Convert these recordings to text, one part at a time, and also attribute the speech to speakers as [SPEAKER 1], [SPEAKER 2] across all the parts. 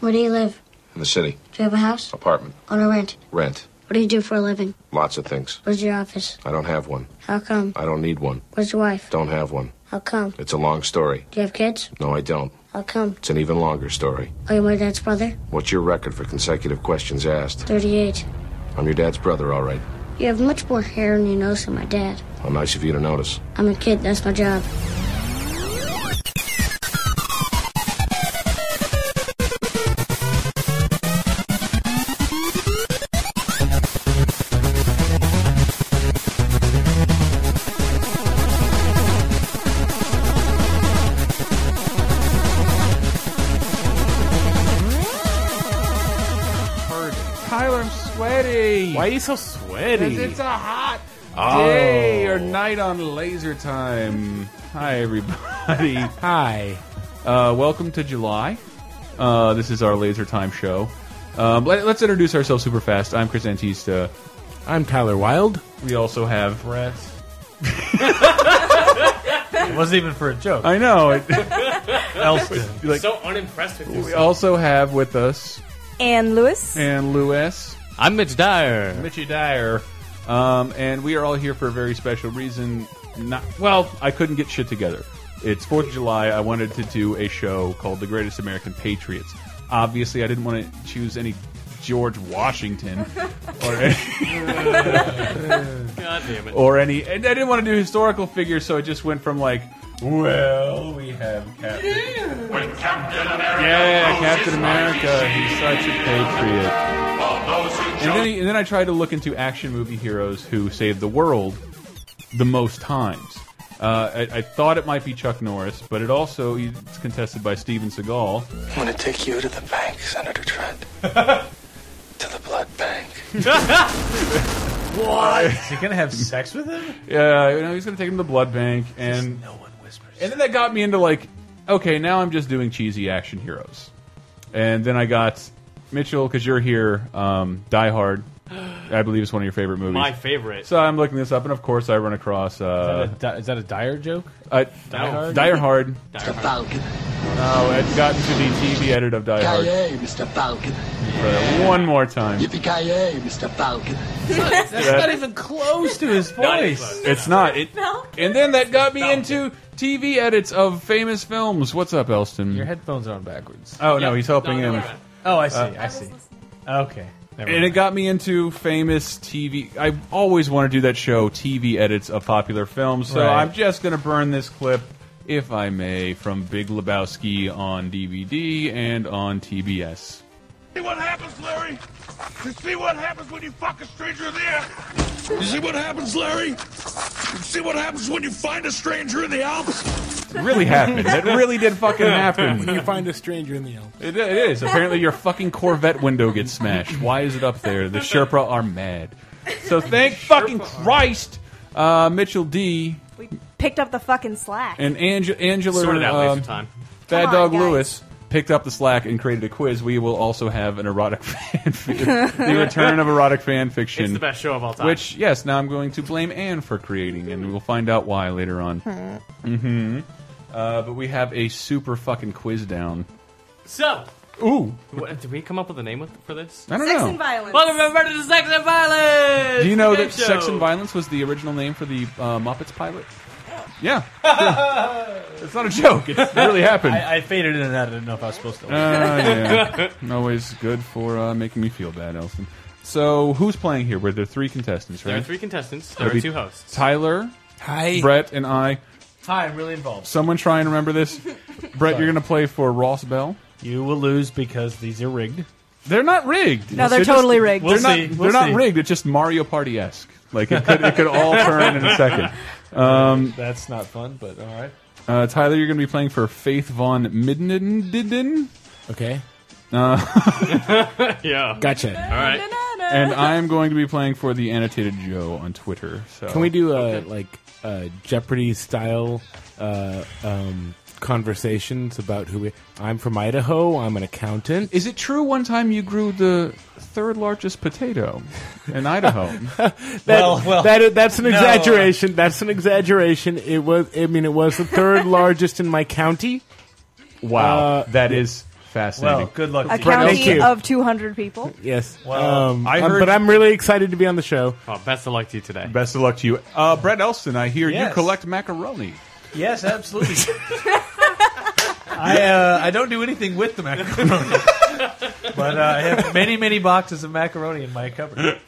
[SPEAKER 1] Where do you live?
[SPEAKER 2] In the city.
[SPEAKER 1] Do you have a house?
[SPEAKER 2] Apartment.
[SPEAKER 1] On a rent?
[SPEAKER 2] Rent.
[SPEAKER 1] What do you do for a living?
[SPEAKER 2] Lots of things.
[SPEAKER 1] Where's your office?
[SPEAKER 2] I don't have one.
[SPEAKER 1] How come?
[SPEAKER 2] I don't need one.
[SPEAKER 1] Where's your wife?
[SPEAKER 2] Don't have one.
[SPEAKER 1] How come?
[SPEAKER 2] It's a long story.
[SPEAKER 1] Do you have kids?
[SPEAKER 2] No, I don't.
[SPEAKER 1] How come?
[SPEAKER 2] It's an even longer story.
[SPEAKER 1] Are you my dad's brother?
[SPEAKER 2] What's your record for consecutive questions asked?
[SPEAKER 1] 38.
[SPEAKER 2] I'm your dad's brother, all right.
[SPEAKER 1] You have much more hair on your nose than my dad.
[SPEAKER 2] How nice of you to notice.
[SPEAKER 1] I'm a kid, that's my job.
[SPEAKER 3] Tyler, I'm sweaty.
[SPEAKER 4] Why are you so sweaty?
[SPEAKER 3] Because it's a hot
[SPEAKER 4] Oh.
[SPEAKER 3] day or night on laser time. Hi, everybody.
[SPEAKER 4] Hi.
[SPEAKER 3] uh, welcome to July. Uh, this is our laser time show. Um, let, us introduce ourselves super fast. I'm Chris Antista.
[SPEAKER 4] I'm Tyler Wilde.
[SPEAKER 3] We also have Brett.
[SPEAKER 5] It wasn't even for a joke.
[SPEAKER 3] I know. it-
[SPEAKER 5] Elston.
[SPEAKER 3] like-
[SPEAKER 4] so unimpressed with
[SPEAKER 3] we also have with us
[SPEAKER 6] Ann Lewis.
[SPEAKER 3] and Lewis.
[SPEAKER 5] I'm Mitch Dyer.
[SPEAKER 3] Mitchie Dyer. Um, and we are all here for a very special reason. Not well, I couldn't get shit together. It's Fourth of July. I wanted to do a show called The Greatest American Patriots. Obviously, I didn't want to choose any George Washington or any,
[SPEAKER 4] God damn it.
[SPEAKER 3] or any. And I didn't want to do historical figures, so I just went from like, well, we have Captain.
[SPEAKER 7] When Captain America
[SPEAKER 3] Yeah,
[SPEAKER 7] rose
[SPEAKER 3] Captain
[SPEAKER 7] his
[SPEAKER 3] America.
[SPEAKER 7] mighty
[SPEAKER 3] He's
[SPEAKER 7] sea,
[SPEAKER 3] such a patriot.
[SPEAKER 7] all those who
[SPEAKER 3] And then,
[SPEAKER 7] joined
[SPEAKER 3] he, and then I tried to look into action movie heroes who saved the world the most times. Uh, I, I thought it might be Chuck Norris, but it also it's contested by Steven Seagal.
[SPEAKER 8] I'm going to take you to the bank, Senator Trent. to the blood bank.
[SPEAKER 5] Is he gonna have sex with him?
[SPEAKER 3] Yeah, you know, he's going to take him to the blood bank, and
[SPEAKER 5] No one whispers.
[SPEAKER 3] and then that got me into like, okay, now I'm just doing cheesy action heroes. And then I got Mitchell because you're here. Um, Die Hard, I believe, is one of your favorite movies.
[SPEAKER 4] My favorite.
[SPEAKER 3] so I'm looking this up, and of course I run across uh,
[SPEAKER 5] is, that a, is that a Dyer joke?
[SPEAKER 3] I,
[SPEAKER 5] Die Hard?
[SPEAKER 3] Die Hard.
[SPEAKER 8] Mr. Falcon.
[SPEAKER 3] Oh, I've gotten to the TV edit of Die Hard
[SPEAKER 8] Yippee-ki-yay, Mr. Falcon.
[SPEAKER 3] for that one more time.
[SPEAKER 8] Yippee-ki-yay, Mr. Falcon.
[SPEAKER 5] That's not even close to his
[SPEAKER 4] Not even
[SPEAKER 5] voice.
[SPEAKER 4] close.
[SPEAKER 3] It's not. It,
[SPEAKER 6] No.
[SPEAKER 3] and then that got me into TV edits of famous films. What's up, Elston?
[SPEAKER 5] Your headphones are on backwards.
[SPEAKER 3] oh no, he's helping
[SPEAKER 4] No,
[SPEAKER 3] him.
[SPEAKER 4] no, no, no.
[SPEAKER 5] Oh, I see. I see. Okay. Never
[SPEAKER 3] And it
[SPEAKER 5] mind.
[SPEAKER 3] got me into famous TV. I always want to do that show, TV edits of popular films. So
[SPEAKER 5] Right.
[SPEAKER 3] I'm just going to burn this clip, if I may, from Big Lebowski on DVD and on TBS.
[SPEAKER 7] See what happens, Larry? You see what happens when you fuck a stranger in the air? You see what happens, Larry? You see what happens when you find a stranger in the Alps?
[SPEAKER 3] It really happened. That really did fucking happen.
[SPEAKER 4] you find a stranger in the Alps.
[SPEAKER 3] It, it is. Apparently, your fucking Corvette window gets smashed. Why is it up there? The Sherpa are mad. So thank fucking Christ, uh, Mitchell D
[SPEAKER 6] We picked up the fucking slack.
[SPEAKER 3] and Ange Angela
[SPEAKER 4] Sort it out
[SPEAKER 3] um,
[SPEAKER 4] laser time.
[SPEAKER 3] Bad
[SPEAKER 6] Come on,
[SPEAKER 3] Dog
[SPEAKER 6] guys.
[SPEAKER 3] Lewis picked up the slack and created a quiz. We will also have an erotic fan fiction. the return of erotic fan fiction.
[SPEAKER 4] It's the best show of all time.
[SPEAKER 3] Which, yes, now I'm going to blame Anne for creating, and we'll find out why later on. Mm-hmm. Uh, but we have a super fucking quiz down.
[SPEAKER 4] So,
[SPEAKER 3] Ooh,
[SPEAKER 4] what, did we come up with a name with, for this?
[SPEAKER 3] I don't
[SPEAKER 6] Sex
[SPEAKER 3] know.
[SPEAKER 6] and violence.
[SPEAKER 4] Welcome everybody to Sex and Violence!
[SPEAKER 3] Do you know that
[SPEAKER 4] Game show.
[SPEAKER 3] Sex and Violence was the original name for the uh, Muppets pilot? Yeah. it's not a joke. It really happened.
[SPEAKER 5] I, I faded in and out. I didn't know if I was supposed to.
[SPEAKER 3] Uh, yeah. Always good for uh, making me feel bad, Elston. So, who's playing here? Were there three contestants, right?
[SPEAKER 4] There are three contestants. There
[SPEAKER 3] That'd
[SPEAKER 4] are
[SPEAKER 3] be
[SPEAKER 4] two hosts.
[SPEAKER 3] Tyler,
[SPEAKER 5] Hi.
[SPEAKER 3] Brett, and I.
[SPEAKER 5] Hi. I'm really involved.
[SPEAKER 3] Someone try and remember this. Brett, you're going to play for Ross Bell.
[SPEAKER 5] You will lose because these are rigged.
[SPEAKER 3] They're not rigged.
[SPEAKER 6] no, they're totally rigged.
[SPEAKER 5] We'll
[SPEAKER 3] They're
[SPEAKER 5] see.
[SPEAKER 3] not,
[SPEAKER 5] We'll
[SPEAKER 3] they're
[SPEAKER 5] see.
[SPEAKER 3] not rigged. It's just Mario Party esque. Like it could, it could all turn in a second.
[SPEAKER 5] That's not fun, but all right.
[SPEAKER 3] Uh, Tyler, you're going to be playing for Faith von Middendidden.
[SPEAKER 5] Okay.
[SPEAKER 4] Yeah.
[SPEAKER 9] Gotcha.
[SPEAKER 4] Alright.
[SPEAKER 3] and I'm going to be playing for the annotated Joe on Twitter. So
[SPEAKER 9] Can we do a like a Jeopardy style uh, um, conversations about who we? I'm from Idaho. I'm an accountant.
[SPEAKER 3] Is it true one time you grew the third largest potato in Idaho?
[SPEAKER 5] well, well.
[SPEAKER 9] That that's an
[SPEAKER 5] No.
[SPEAKER 9] exaggeration. That's an exaggeration. It was. I mean, it was the third largest in my county.
[SPEAKER 3] wow,
[SPEAKER 9] Uh,
[SPEAKER 3] that is fascinating.
[SPEAKER 5] Well, good luck.
[SPEAKER 6] A
[SPEAKER 5] to you.
[SPEAKER 9] Thank
[SPEAKER 6] county
[SPEAKER 9] you.
[SPEAKER 6] of 200 people.
[SPEAKER 9] Yes.
[SPEAKER 5] Well,
[SPEAKER 9] um,
[SPEAKER 3] I
[SPEAKER 9] I'm-
[SPEAKER 3] heard-
[SPEAKER 9] but I'm really excited to be on the show.
[SPEAKER 4] Oh, best of luck to you today.
[SPEAKER 3] Best of luck to you, uh, Brett Elston. I hear you
[SPEAKER 5] Yes.
[SPEAKER 3] collect macaroni.
[SPEAKER 5] Yes, absolutely. I uh, I don't do anything with the macaroni, but uh, I have many many boxes of macaroni in my cupboard.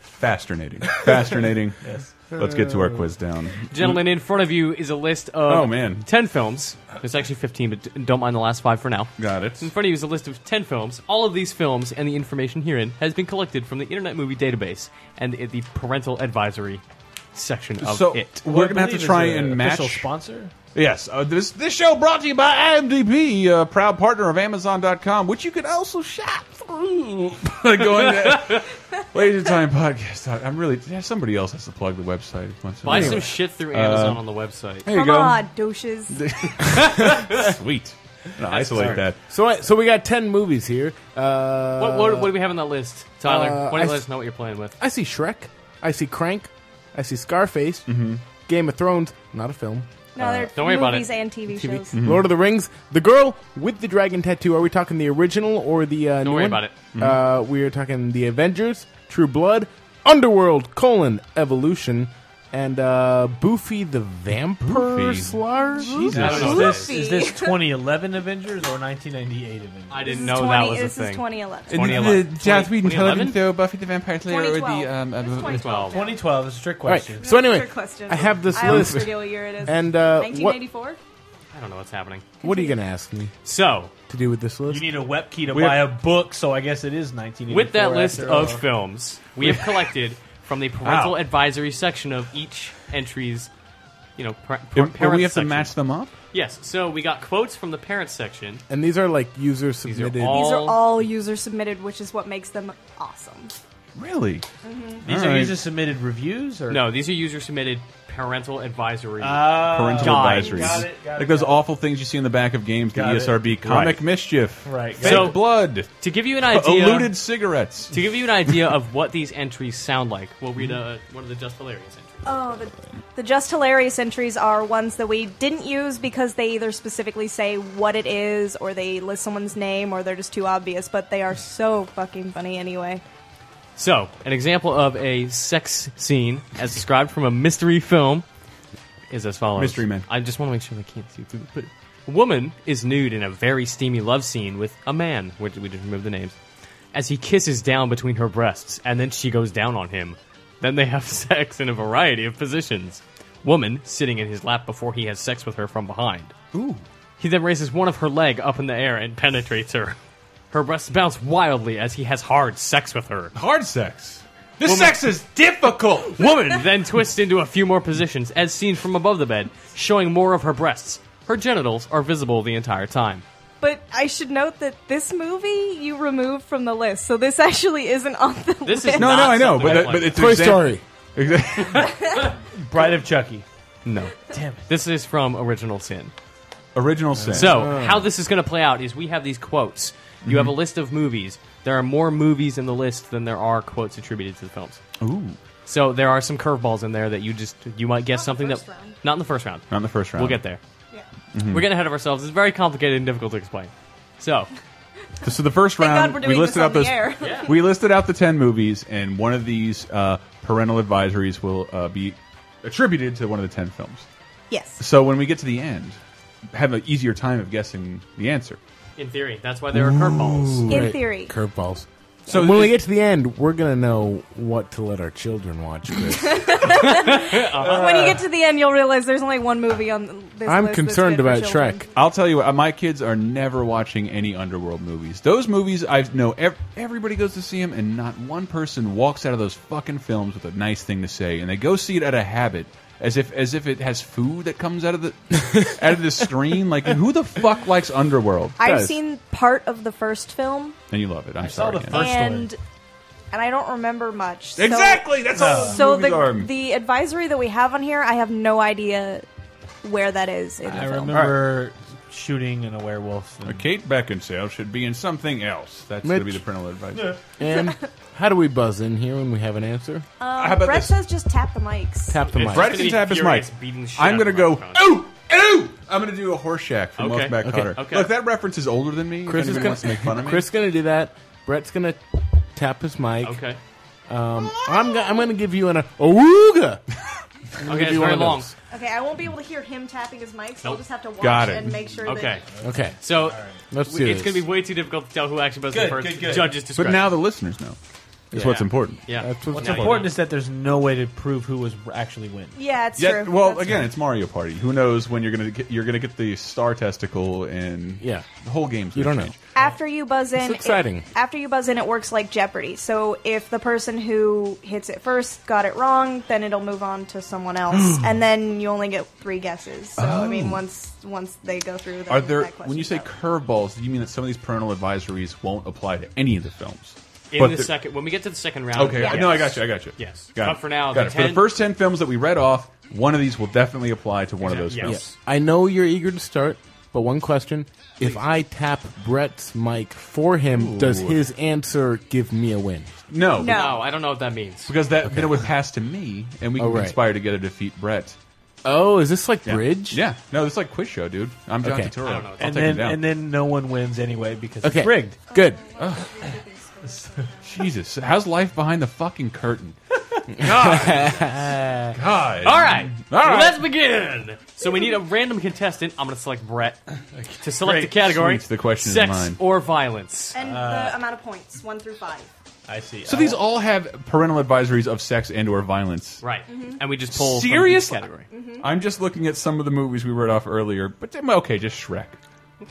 [SPEAKER 3] Fascinating, fascinating. Let's get to our quiz down.
[SPEAKER 4] Gentlemen, in front of you is a list of
[SPEAKER 3] Oh, man.
[SPEAKER 4] 10 films. There's actually 15, but d- don't mind the last five for now.
[SPEAKER 3] Got it.
[SPEAKER 4] In front of you is a list of 10 films. All of these films and the information herein has been collected from the Internet Movie Database and i- the parental advisory section of
[SPEAKER 3] So
[SPEAKER 4] it.
[SPEAKER 3] we're gonna have to try and match.
[SPEAKER 5] Official sponsor.
[SPEAKER 3] Yes, uh, this this show brought to you by IMDb, uh, proud partner of Amazon.com, which you can also shop through by going to Waste of Time Podcast. I'm really yeah, somebody else has to plug the website.
[SPEAKER 4] Buy some shit through
[SPEAKER 3] Uh,
[SPEAKER 4] Amazon on the website.
[SPEAKER 3] There you
[SPEAKER 6] Come
[SPEAKER 3] go.
[SPEAKER 6] on, douches.
[SPEAKER 3] Sweet. No, isolate that.
[SPEAKER 9] So, I, so we got ten movies here. Uh,
[SPEAKER 4] What, what, what do we have on that list, Tyler? Why
[SPEAKER 9] uh,
[SPEAKER 4] don't
[SPEAKER 9] I
[SPEAKER 4] you let
[SPEAKER 9] s-
[SPEAKER 4] us know what you're playing with?
[SPEAKER 9] I see Shrek. I see Crank. I see Scarface.
[SPEAKER 5] Mm-hmm.
[SPEAKER 9] Game of Thrones, not a film.
[SPEAKER 6] No, they're
[SPEAKER 4] Don't worry about
[SPEAKER 6] movies
[SPEAKER 4] it.
[SPEAKER 6] and TV
[SPEAKER 4] TV.
[SPEAKER 6] shows.
[SPEAKER 9] Lord of the Rings. The girl with the dragon tattoo. Are we talking the original or the uh, new
[SPEAKER 4] worry
[SPEAKER 9] one?
[SPEAKER 4] about it. Mm-hmm.
[SPEAKER 9] Uh, we are talking the Avengers, True Blood, Underworld: colon, Evolution, and uh, Boofy the Vampire
[SPEAKER 3] Boofy.
[SPEAKER 9] Slayer.
[SPEAKER 4] I don't know.
[SPEAKER 5] Is this,
[SPEAKER 6] Luffy.
[SPEAKER 5] is this 2011 Avengers or 1998 Avengers?
[SPEAKER 4] I
[SPEAKER 6] This
[SPEAKER 4] didn't
[SPEAKER 6] is
[SPEAKER 4] know
[SPEAKER 6] 20,
[SPEAKER 4] that was a
[SPEAKER 6] This
[SPEAKER 4] thing.
[SPEAKER 6] is 2011.
[SPEAKER 3] uh,
[SPEAKER 4] 2011.
[SPEAKER 10] Joss Whedon
[SPEAKER 4] 2011?
[SPEAKER 10] television show Buffy the Vampire Slayer or the um,
[SPEAKER 6] 2012. It was
[SPEAKER 10] uh,
[SPEAKER 4] 2012.
[SPEAKER 5] 2012 is a trick
[SPEAKER 9] All right.
[SPEAKER 5] question.
[SPEAKER 9] So
[SPEAKER 6] That's
[SPEAKER 9] anyway,
[SPEAKER 6] your question.
[SPEAKER 9] I have this
[SPEAKER 6] I always
[SPEAKER 9] list,
[SPEAKER 6] forget what year it is.
[SPEAKER 9] and uh, what
[SPEAKER 6] 1984?
[SPEAKER 4] I don't know what's happening.
[SPEAKER 9] what are you going to ask me
[SPEAKER 4] So,
[SPEAKER 9] to do with this
[SPEAKER 5] You
[SPEAKER 9] list?
[SPEAKER 5] need a web key to
[SPEAKER 3] We're-
[SPEAKER 5] buy a book, so I guess it is 1984.
[SPEAKER 4] with that list
[SPEAKER 5] after
[SPEAKER 4] of
[SPEAKER 5] all.
[SPEAKER 4] films we have collected from the parental
[SPEAKER 3] Wow.
[SPEAKER 4] advisory section of each entry's you know par- par-
[SPEAKER 3] And- and
[SPEAKER 4] parent
[SPEAKER 3] we have
[SPEAKER 4] section.
[SPEAKER 3] to match them up.
[SPEAKER 4] yes so we got quotes from the parents section
[SPEAKER 9] And these are like user
[SPEAKER 4] these are
[SPEAKER 9] submitted.
[SPEAKER 4] all,
[SPEAKER 6] These are all user submitted, which is what makes them awesome.
[SPEAKER 3] Really?
[SPEAKER 4] Mm-hmm.
[SPEAKER 5] these
[SPEAKER 3] all
[SPEAKER 5] are
[SPEAKER 3] right.
[SPEAKER 5] user submitted reviews or
[SPEAKER 4] no these are user submitted parental advisory
[SPEAKER 3] Uh,
[SPEAKER 5] Ah,
[SPEAKER 3] Parental
[SPEAKER 4] Got it,
[SPEAKER 3] advisories.
[SPEAKER 5] got it, got
[SPEAKER 3] like
[SPEAKER 5] it,
[SPEAKER 3] those
[SPEAKER 5] got it.
[SPEAKER 3] awful things you see in the back of games,
[SPEAKER 5] Got
[SPEAKER 3] the E
[SPEAKER 5] it.
[SPEAKER 3] ESRB comic
[SPEAKER 5] Right.
[SPEAKER 3] mischief.
[SPEAKER 5] Right,
[SPEAKER 3] Fake
[SPEAKER 5] got
[SPEAKER 4] So-
[SPEAKER 3] blood.
[SPEAKER 4] to give you an idea
[SPEAKER 3] Eluded cigarettes.
[SPEAKER 4] to give you an idea of what these entries sound like we'll read uh one of the just hilarious entries
[SPEAKER 6] Oh, the, the just hilarious entries are ones that we didn't use because they either specifically say what it is, or they list someone's name, or they're just too obvious. But they are so fucking funny anyway.
[SPEAKER 4] so an example of a sex scene as described from a mystery film is as follows
[SPEAKER 3] Mystery Men.
[SPEAKER 4] i just want to make sure they can't see through the but a woman is nude in a very steamy love scene with a man which we just removed the names as he kisses down between her breasts and then she goes down on him then they have sex in a variety of positions woman sitting in his lap before he has sex with her from behind ooh he then raises one of her leg up in the air and penetrates her her breasts bounce wildly as he has hard sex with her
[SPEAKER 3] Hard sex.
[SPEAKER 10] This sex is difficult.
[SPEAKER 4] Woman then twists into a few more positions, as seen from above the bed, showing more of her breasts. Her genitals are visible the entire time.
[SPEAKER 6] But I should note that this movie you removed from the list, so this actually isn't on the list.
[SPEAKER 4] This is
[SPEAKER 3] No,
[SPEAKER 4] not
[SPEAKER 3] no, I know,
[SPEAKER 4] something
[SPEAKER 3] but, that,
[SPEAKER 4] like
[SPEAKER 3] but it's
[SPEAKER 9] Toy
[SPEAKER 3] exa-
[SPEAKER 9] Story.
[SPEAKER 3] exa-
[SPEAKER 5] Bride of Chucky.
[SPEAKER 4] no.
[SPEAKER 5] Damn it.
[SPEAKER 4] This is from Original Sin.
[SPEAKER 3] original sin.
[SPEAKER 4] So how this is going to play out is we have these quotes. You have a
[SPEAKER 3] Mhm.
[SPEAKER 4] list of movies. There are more movies in the list than there are quotes attributed to the films.
[SPEAKER 3] Ooh.
[SPEAKER 4] So there are some curveballs in there that you just you might guess something that not in the first round.
[SPEAKER 3] Not in the first round. Mm-hmm.
[SPEAKER 4] We'll get there. We're getting ahead of ourselves. It's very complicated and difficult to explain. So
[SPEAKER 3] So the first
[SPEAKER 6] Thank
[SPEAKER 3] round,
[SPEAKER 6] God we're
[SPEAKER 3] we
[SPEAKER 6] doing
[SPEAKER 3] listed
[SPEAKER 6] this
[SPEAKER 3] out
[SPEAKER 6] on
[SPEAKER 3] those.
[SPEAKER 6] the air.
[SPEAKER 3] We listed out the ten movies, and one of these uh, parental advisories will uh, be attributed to one of the ten films.
[SPEAKER 6] Yes.
[SPEAKER 3] So when we get to the end, have an easier time of guessing the answer.
[SPEAKER 4] in theory, that's why there are curveballs.
[SPEAKER 6] In theory.
[SPEAKER 9] curveballs.
[SPEAKER 3] So
[SPEAKER 9] when we
[SPEAKER 3] it's-
[SPEAKER 9] get to the end, we're gonna know what to let our children watch. Chris.
[SPEAKER 6] when you get to the end, you'll realize there's only one movie on this list.
[SPEAKER 9] I'm
[SPEAKER 6] that's
[SPEAKER 9] concerned
[SPEAKER 6] good for
[SPEAKER 9] about
[SPEAKER 6] children.
[SPEAKER 9] Shrek.
[SPEAKER 3] I'll tell you what, my kids are never watching any underworld movies. Those movies I know ev everybody goes to see them and not one person walks out of those fucking films with a nice thing to say and they go see it out of habit as if as if it has food that comes out of the out of the screen like who the fuck likes underworld?
[SPEAKER 6] I've
[SPEAKER 3] Guys.
[SPEAKER 6] seen part of the first film,
[SPEAKER 3] and you love it. I'm
[SPEAKER 5] saw
[SPEAKER 3] sorry.
[SPEAKER 5] the
[SPEAKER 3] Ken.
[SPEAKER 5] first-
[SPEAKER 6] and and I don't remember much. So-
[SPEAKER 3] Exactly, that's all.
[SPEAKER 6] So
[SPEAKER 3] Uh, movies are.
[SPEAKER 6] the the advisory that we have on here, I have no idea where that is in the
[SPEAKER 5] I
[SPEAKER 6] film.
[SPEAKER 5] remember shooting and a werewolf. and-
[SPEAKER 3] Kate Beckinsale should be in something else. That's going to be the parental advice.
[SPEAKER 9] and how do we buzz in here when we have an answer?
[SPEAKER 3] How about
[SPEAKER 6] Brett
[SPEAKER 3] this?
[SPEAKER 6] says just tap the mics.
[SPEAKER 9] Tap the mic.
[SPEAKER 3] Brett can
[SPEAKER 4] be
[SPEAKER 3] tap his mic.
[SPEAKER 4] furious beating the shit
[SPEAKER 3] I'm
[SPEAKER 4] out
[SPEAKER 3] going to
[SPEAKER 4] of
[SPEAKER 3] go,
[SPEAKER 4] microphones.
[SPEAKER 3] ooh, ooh, do. I'm going to do a horse shack for
[SPEAKER 9] Okay,
[SPEAKER 3] most back
[SPEAKER 9] okay,
[SPEAKER 3] Cutter.
[SPEAKER 9] okay.
[SPEAKER 3] Look, that reference is older than me.
[SPEAKER 9] Chris
[SPEAKER 3] if
[SPEAKER 9] is
[SPEAKER 3] anybody
[SPEAKER 9] gonna
[SPEAKER 3] wants to make fun of me.
[SPEAKER 9] Chris gonna do that. Brett's gonna tap his mic.
[SPEAKER 4] Okay.
[SPEAKER 9] Um, I'm go- I'm gonna give you an awooga. I'm gonna
[SPEAKER 4] Okay,
[SPEAKER 9] give
[SPEAKER 4] it's
[SPEAKER 9] you one
[SPEAKER 4] very
[SPEAKER 9] of
[SPEAKER 4] long.
[SPEAKER 9] those.
[SPEAKER 6] Okay, I won't be able to hear him tapping his mic, so I'll just have to watch
[SPEAKER 9] Got it.
[SPEAKER 6] and make sure
[SPEAKER 4] Okay.
[SPEAKER 6] that.
[SPEAKER 9] Okay.
[SPEAKER 4] So
[SPEAKER 9] Let's
[SPEAKER 4] we-
[SPEAKER 9] do
[SPEAKER 4] it's
[SPEAKER 9] this.
[SPEAKER 4] going to be way too difficult to tell who actually was the
[SPEAKER 5] Good,
[SPEAKER 4] first.
[SPEAKER 5] good, good.
[SPEAKER 4] Judges
[SPEAKER 3] But
[SPEAKER 4] discretion.
[SPEAKER 3] now the listeners know. Is
[SPEAKER 4] Yeah.
[SPEAKER 3] what's important.
[SPEAKER 4] Yeah. That's
[SPEAKER 5] What's important is that there's no way to prove who was actually winning.
[SPEAKER 6] Yeah, it's
[SPEAKER 3] Yeah,
[SPEAKER 6] true.
[SPEAKER 3] well,
[SPEAKER 6] That's
[SPEAKER 3] again,
[SPEAKER 6] true.
[SPEAKER 3] it's Mario Party. Who knows when you're gonna get, you're gonna get the star testicle and
[SPEAKER 9] yeah,
[SPEAKER 3] the whole game's. You
[SPEAKER 9] don't know.
[SPEAKER 6] After you buzz in,
[SPEAKER 9] It's exciting.
[SPEAKER 6] it- after you buzz in, it works like Jeopardy. So if the person who hits it first got it wrong, then it'll move on to someone else, and then you only get three guesses. So I mean,
[SPEAKER 3] Oh.
[SPEAKER 6] once once they go through, then
[SPEAKER 3] Are there
[SPEAKER 6] that question
[SPEAKER 3] when you say curveballs? Do you mean that some of these parental advisories won't apply to any of the films?
[SPEAKER 4] in
[SPEAKER 3] But
[SPEAKER 4] the
[SPEAKER 3] they're-
[SPEAKER 4] second when we get to the second round.
[SPEAKER 3] Okay,
[SPEAKER 4] yes.
[SPEAKER 3] no, I got you. I got you.
[SPEAKER 4] Uh, Yes,
[SPEAKER 3] got
[SPEAKER 4] but
[SPEAKER 3] it.
[SPEAKER 4] for now,
[SPEAKER 3] got
[SPEAKER 4] the
[SPEAKER 3] it.
[SPEAKER 4] 10,
[SPEAKER 3] for the first ten films that we read off, one of these will definitely apply to one of those
[SPEAKER 4] Exactly,
[SPEAKER 3] films.
[SPEAKER 4] yes.
[SPEAKER 9] I know you're eager to start, but one question: If I tap Brett's mic for him, does
[SPEAKER 3] Ooh.
[SPEAKER 9] his answer give me a win?
[SPEAKER 3] No,
[SPEAKER 4] no, I don't know what that means.
[SPEAKER 3] because that then it would pass to me, and we
[SPEAKER 9] Oh,
[SPEAKER 3] can
[SPEAKER 9] right.
[SPEAKER 3] conspire together to defeat Brett.
[SPEAKER 9] Oh, is this like
[SPEAKER 3] Yeah.
[SPEAKER 9] bridge?
[SPEAKER 3] Yeah, no, it's like quiz show, dude. I'm John
[SPEAKER 9] Okay.
[SPEAKER 3] Turturro.
[SPEAKER 9] I
[SPEAKER 3] I'll
[SPEAKER 9] don't know.
[SPEAKER 3] take
[SPEAKER 5] and
[SPEAKER 3] him
[SPEAKER 5] then
[SPEAKER 3] down.
[SPEAKER 5] and then no one wins anyway because
[SPEAKER 9] Okay.
[SPEAKER 5] it's rigged.
[SPEAKER 9] Good.
[SPEAKER 3] Jesus, how's life behind the fucking curtain?
[SPEAKER 9] God.
[SPEAKER 3] God.
[SPEAKER 4] All right.
[SPEAKER 3] All right.
[SPEAKER 4] Let's begin. So we need a random contestant. I'm going to select Brett to select the
[SPEAKER 3] Great.
[SPEAKER 4] category.
[SPEAKER 3] Sweet. The question is
[SPEAKER 4] sex
[SPEAKER 3] mine.
[SPEAKER 4] or violence.
[SPEAKER 6] and
[SPEAKER 3] Uh,
[SPEAKER 6] the amount of points one through five.
[SPEAKER 5] I see.
[SPEAKER 3] So these all have parental advisories of sex and or violence.
[SPEAKER 4] Right. And we just pull
[SPEAKER 3] Seriously?
[SPEAKER 4] from each category.
[SPEAKER 3] I'm just looking at some of the movies we read off earlier, but okay, just Shrek.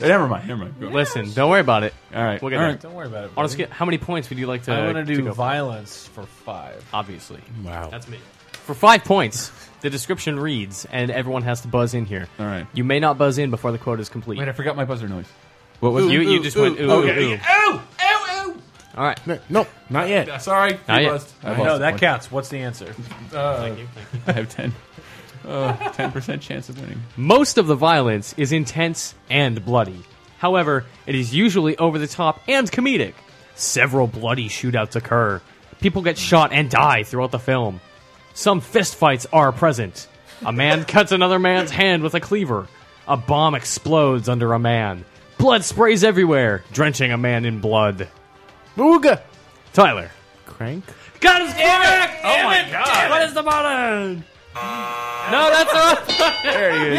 [SPEAKER 3] never mind, never mind. Go.
[SPEAKER 4] Listen, don't worry about it.
[SPEAKER 3] All right,
[SPEAKER 4] We'll get
[SPEAKER 3] all
[SPEAKER 4] there.
[SPEAKER 3] right.
[SPEAKER 5] don't worry about it.
[SPEAKER 4] On a
[SPEAKER 5] buddy.
[SPEAKER 4] scale, how many points would you like to?
[SPEAKER 5] I want to do
[SPEAKER 4] go for?
[SPEAKER 5] violence for five.
[SPEAKER 4] Obviously.
[SPEAKER 9] Wow.
[SPEAKER 4] That's me. For five points, the description reads, and everyone has to buzz in here.
[SPEAKER 3] All right.
[SPEAKER 4] You may not buzz in before the quote is complete.
[SPEAKER 3] Wait, I forgot my buzzer noise. What was
[SPEAKER 4] you
[SPEAKER 3] it?
[SPEAKER 4] you just went ooh,
[SPEAKER 3] Okay.
[SPEAKER 4] ooh, ooh. All right.
[SPEAKER 9] No, no, not yet.
[SPEAKER 3] Sorry, you
[SPEAKER 4] Not yet.
[SPEAKER 3] buzzed. I lost
[SPEAKER 5] No,
[SPEAKER 3] it.
[SPEAKER 5] that counts. What's the answer?
[SPEAKER 3] I have ten. Uh, Ten percent chance of winning.
[SPEAKER 4] Most of the violence is intense and bloody. However, it is usually over the top and comedic. Several bloody shootouts occur. People get shot and die throughout the film. Some fistfights are present. A man cuts another man's hand with a cleaver. A bomb explodes under a man. Blood sprays everywhere, drenching a man in blood.
[SPEAKER 9] Ooga.
[SPEAKER 4] Tyler.
[SPEAKER 9] Crank.
[SPEAKER 4] God is correct! Oh my god! What is the button? No, that's the wrong There
[SPEAKER 5] is.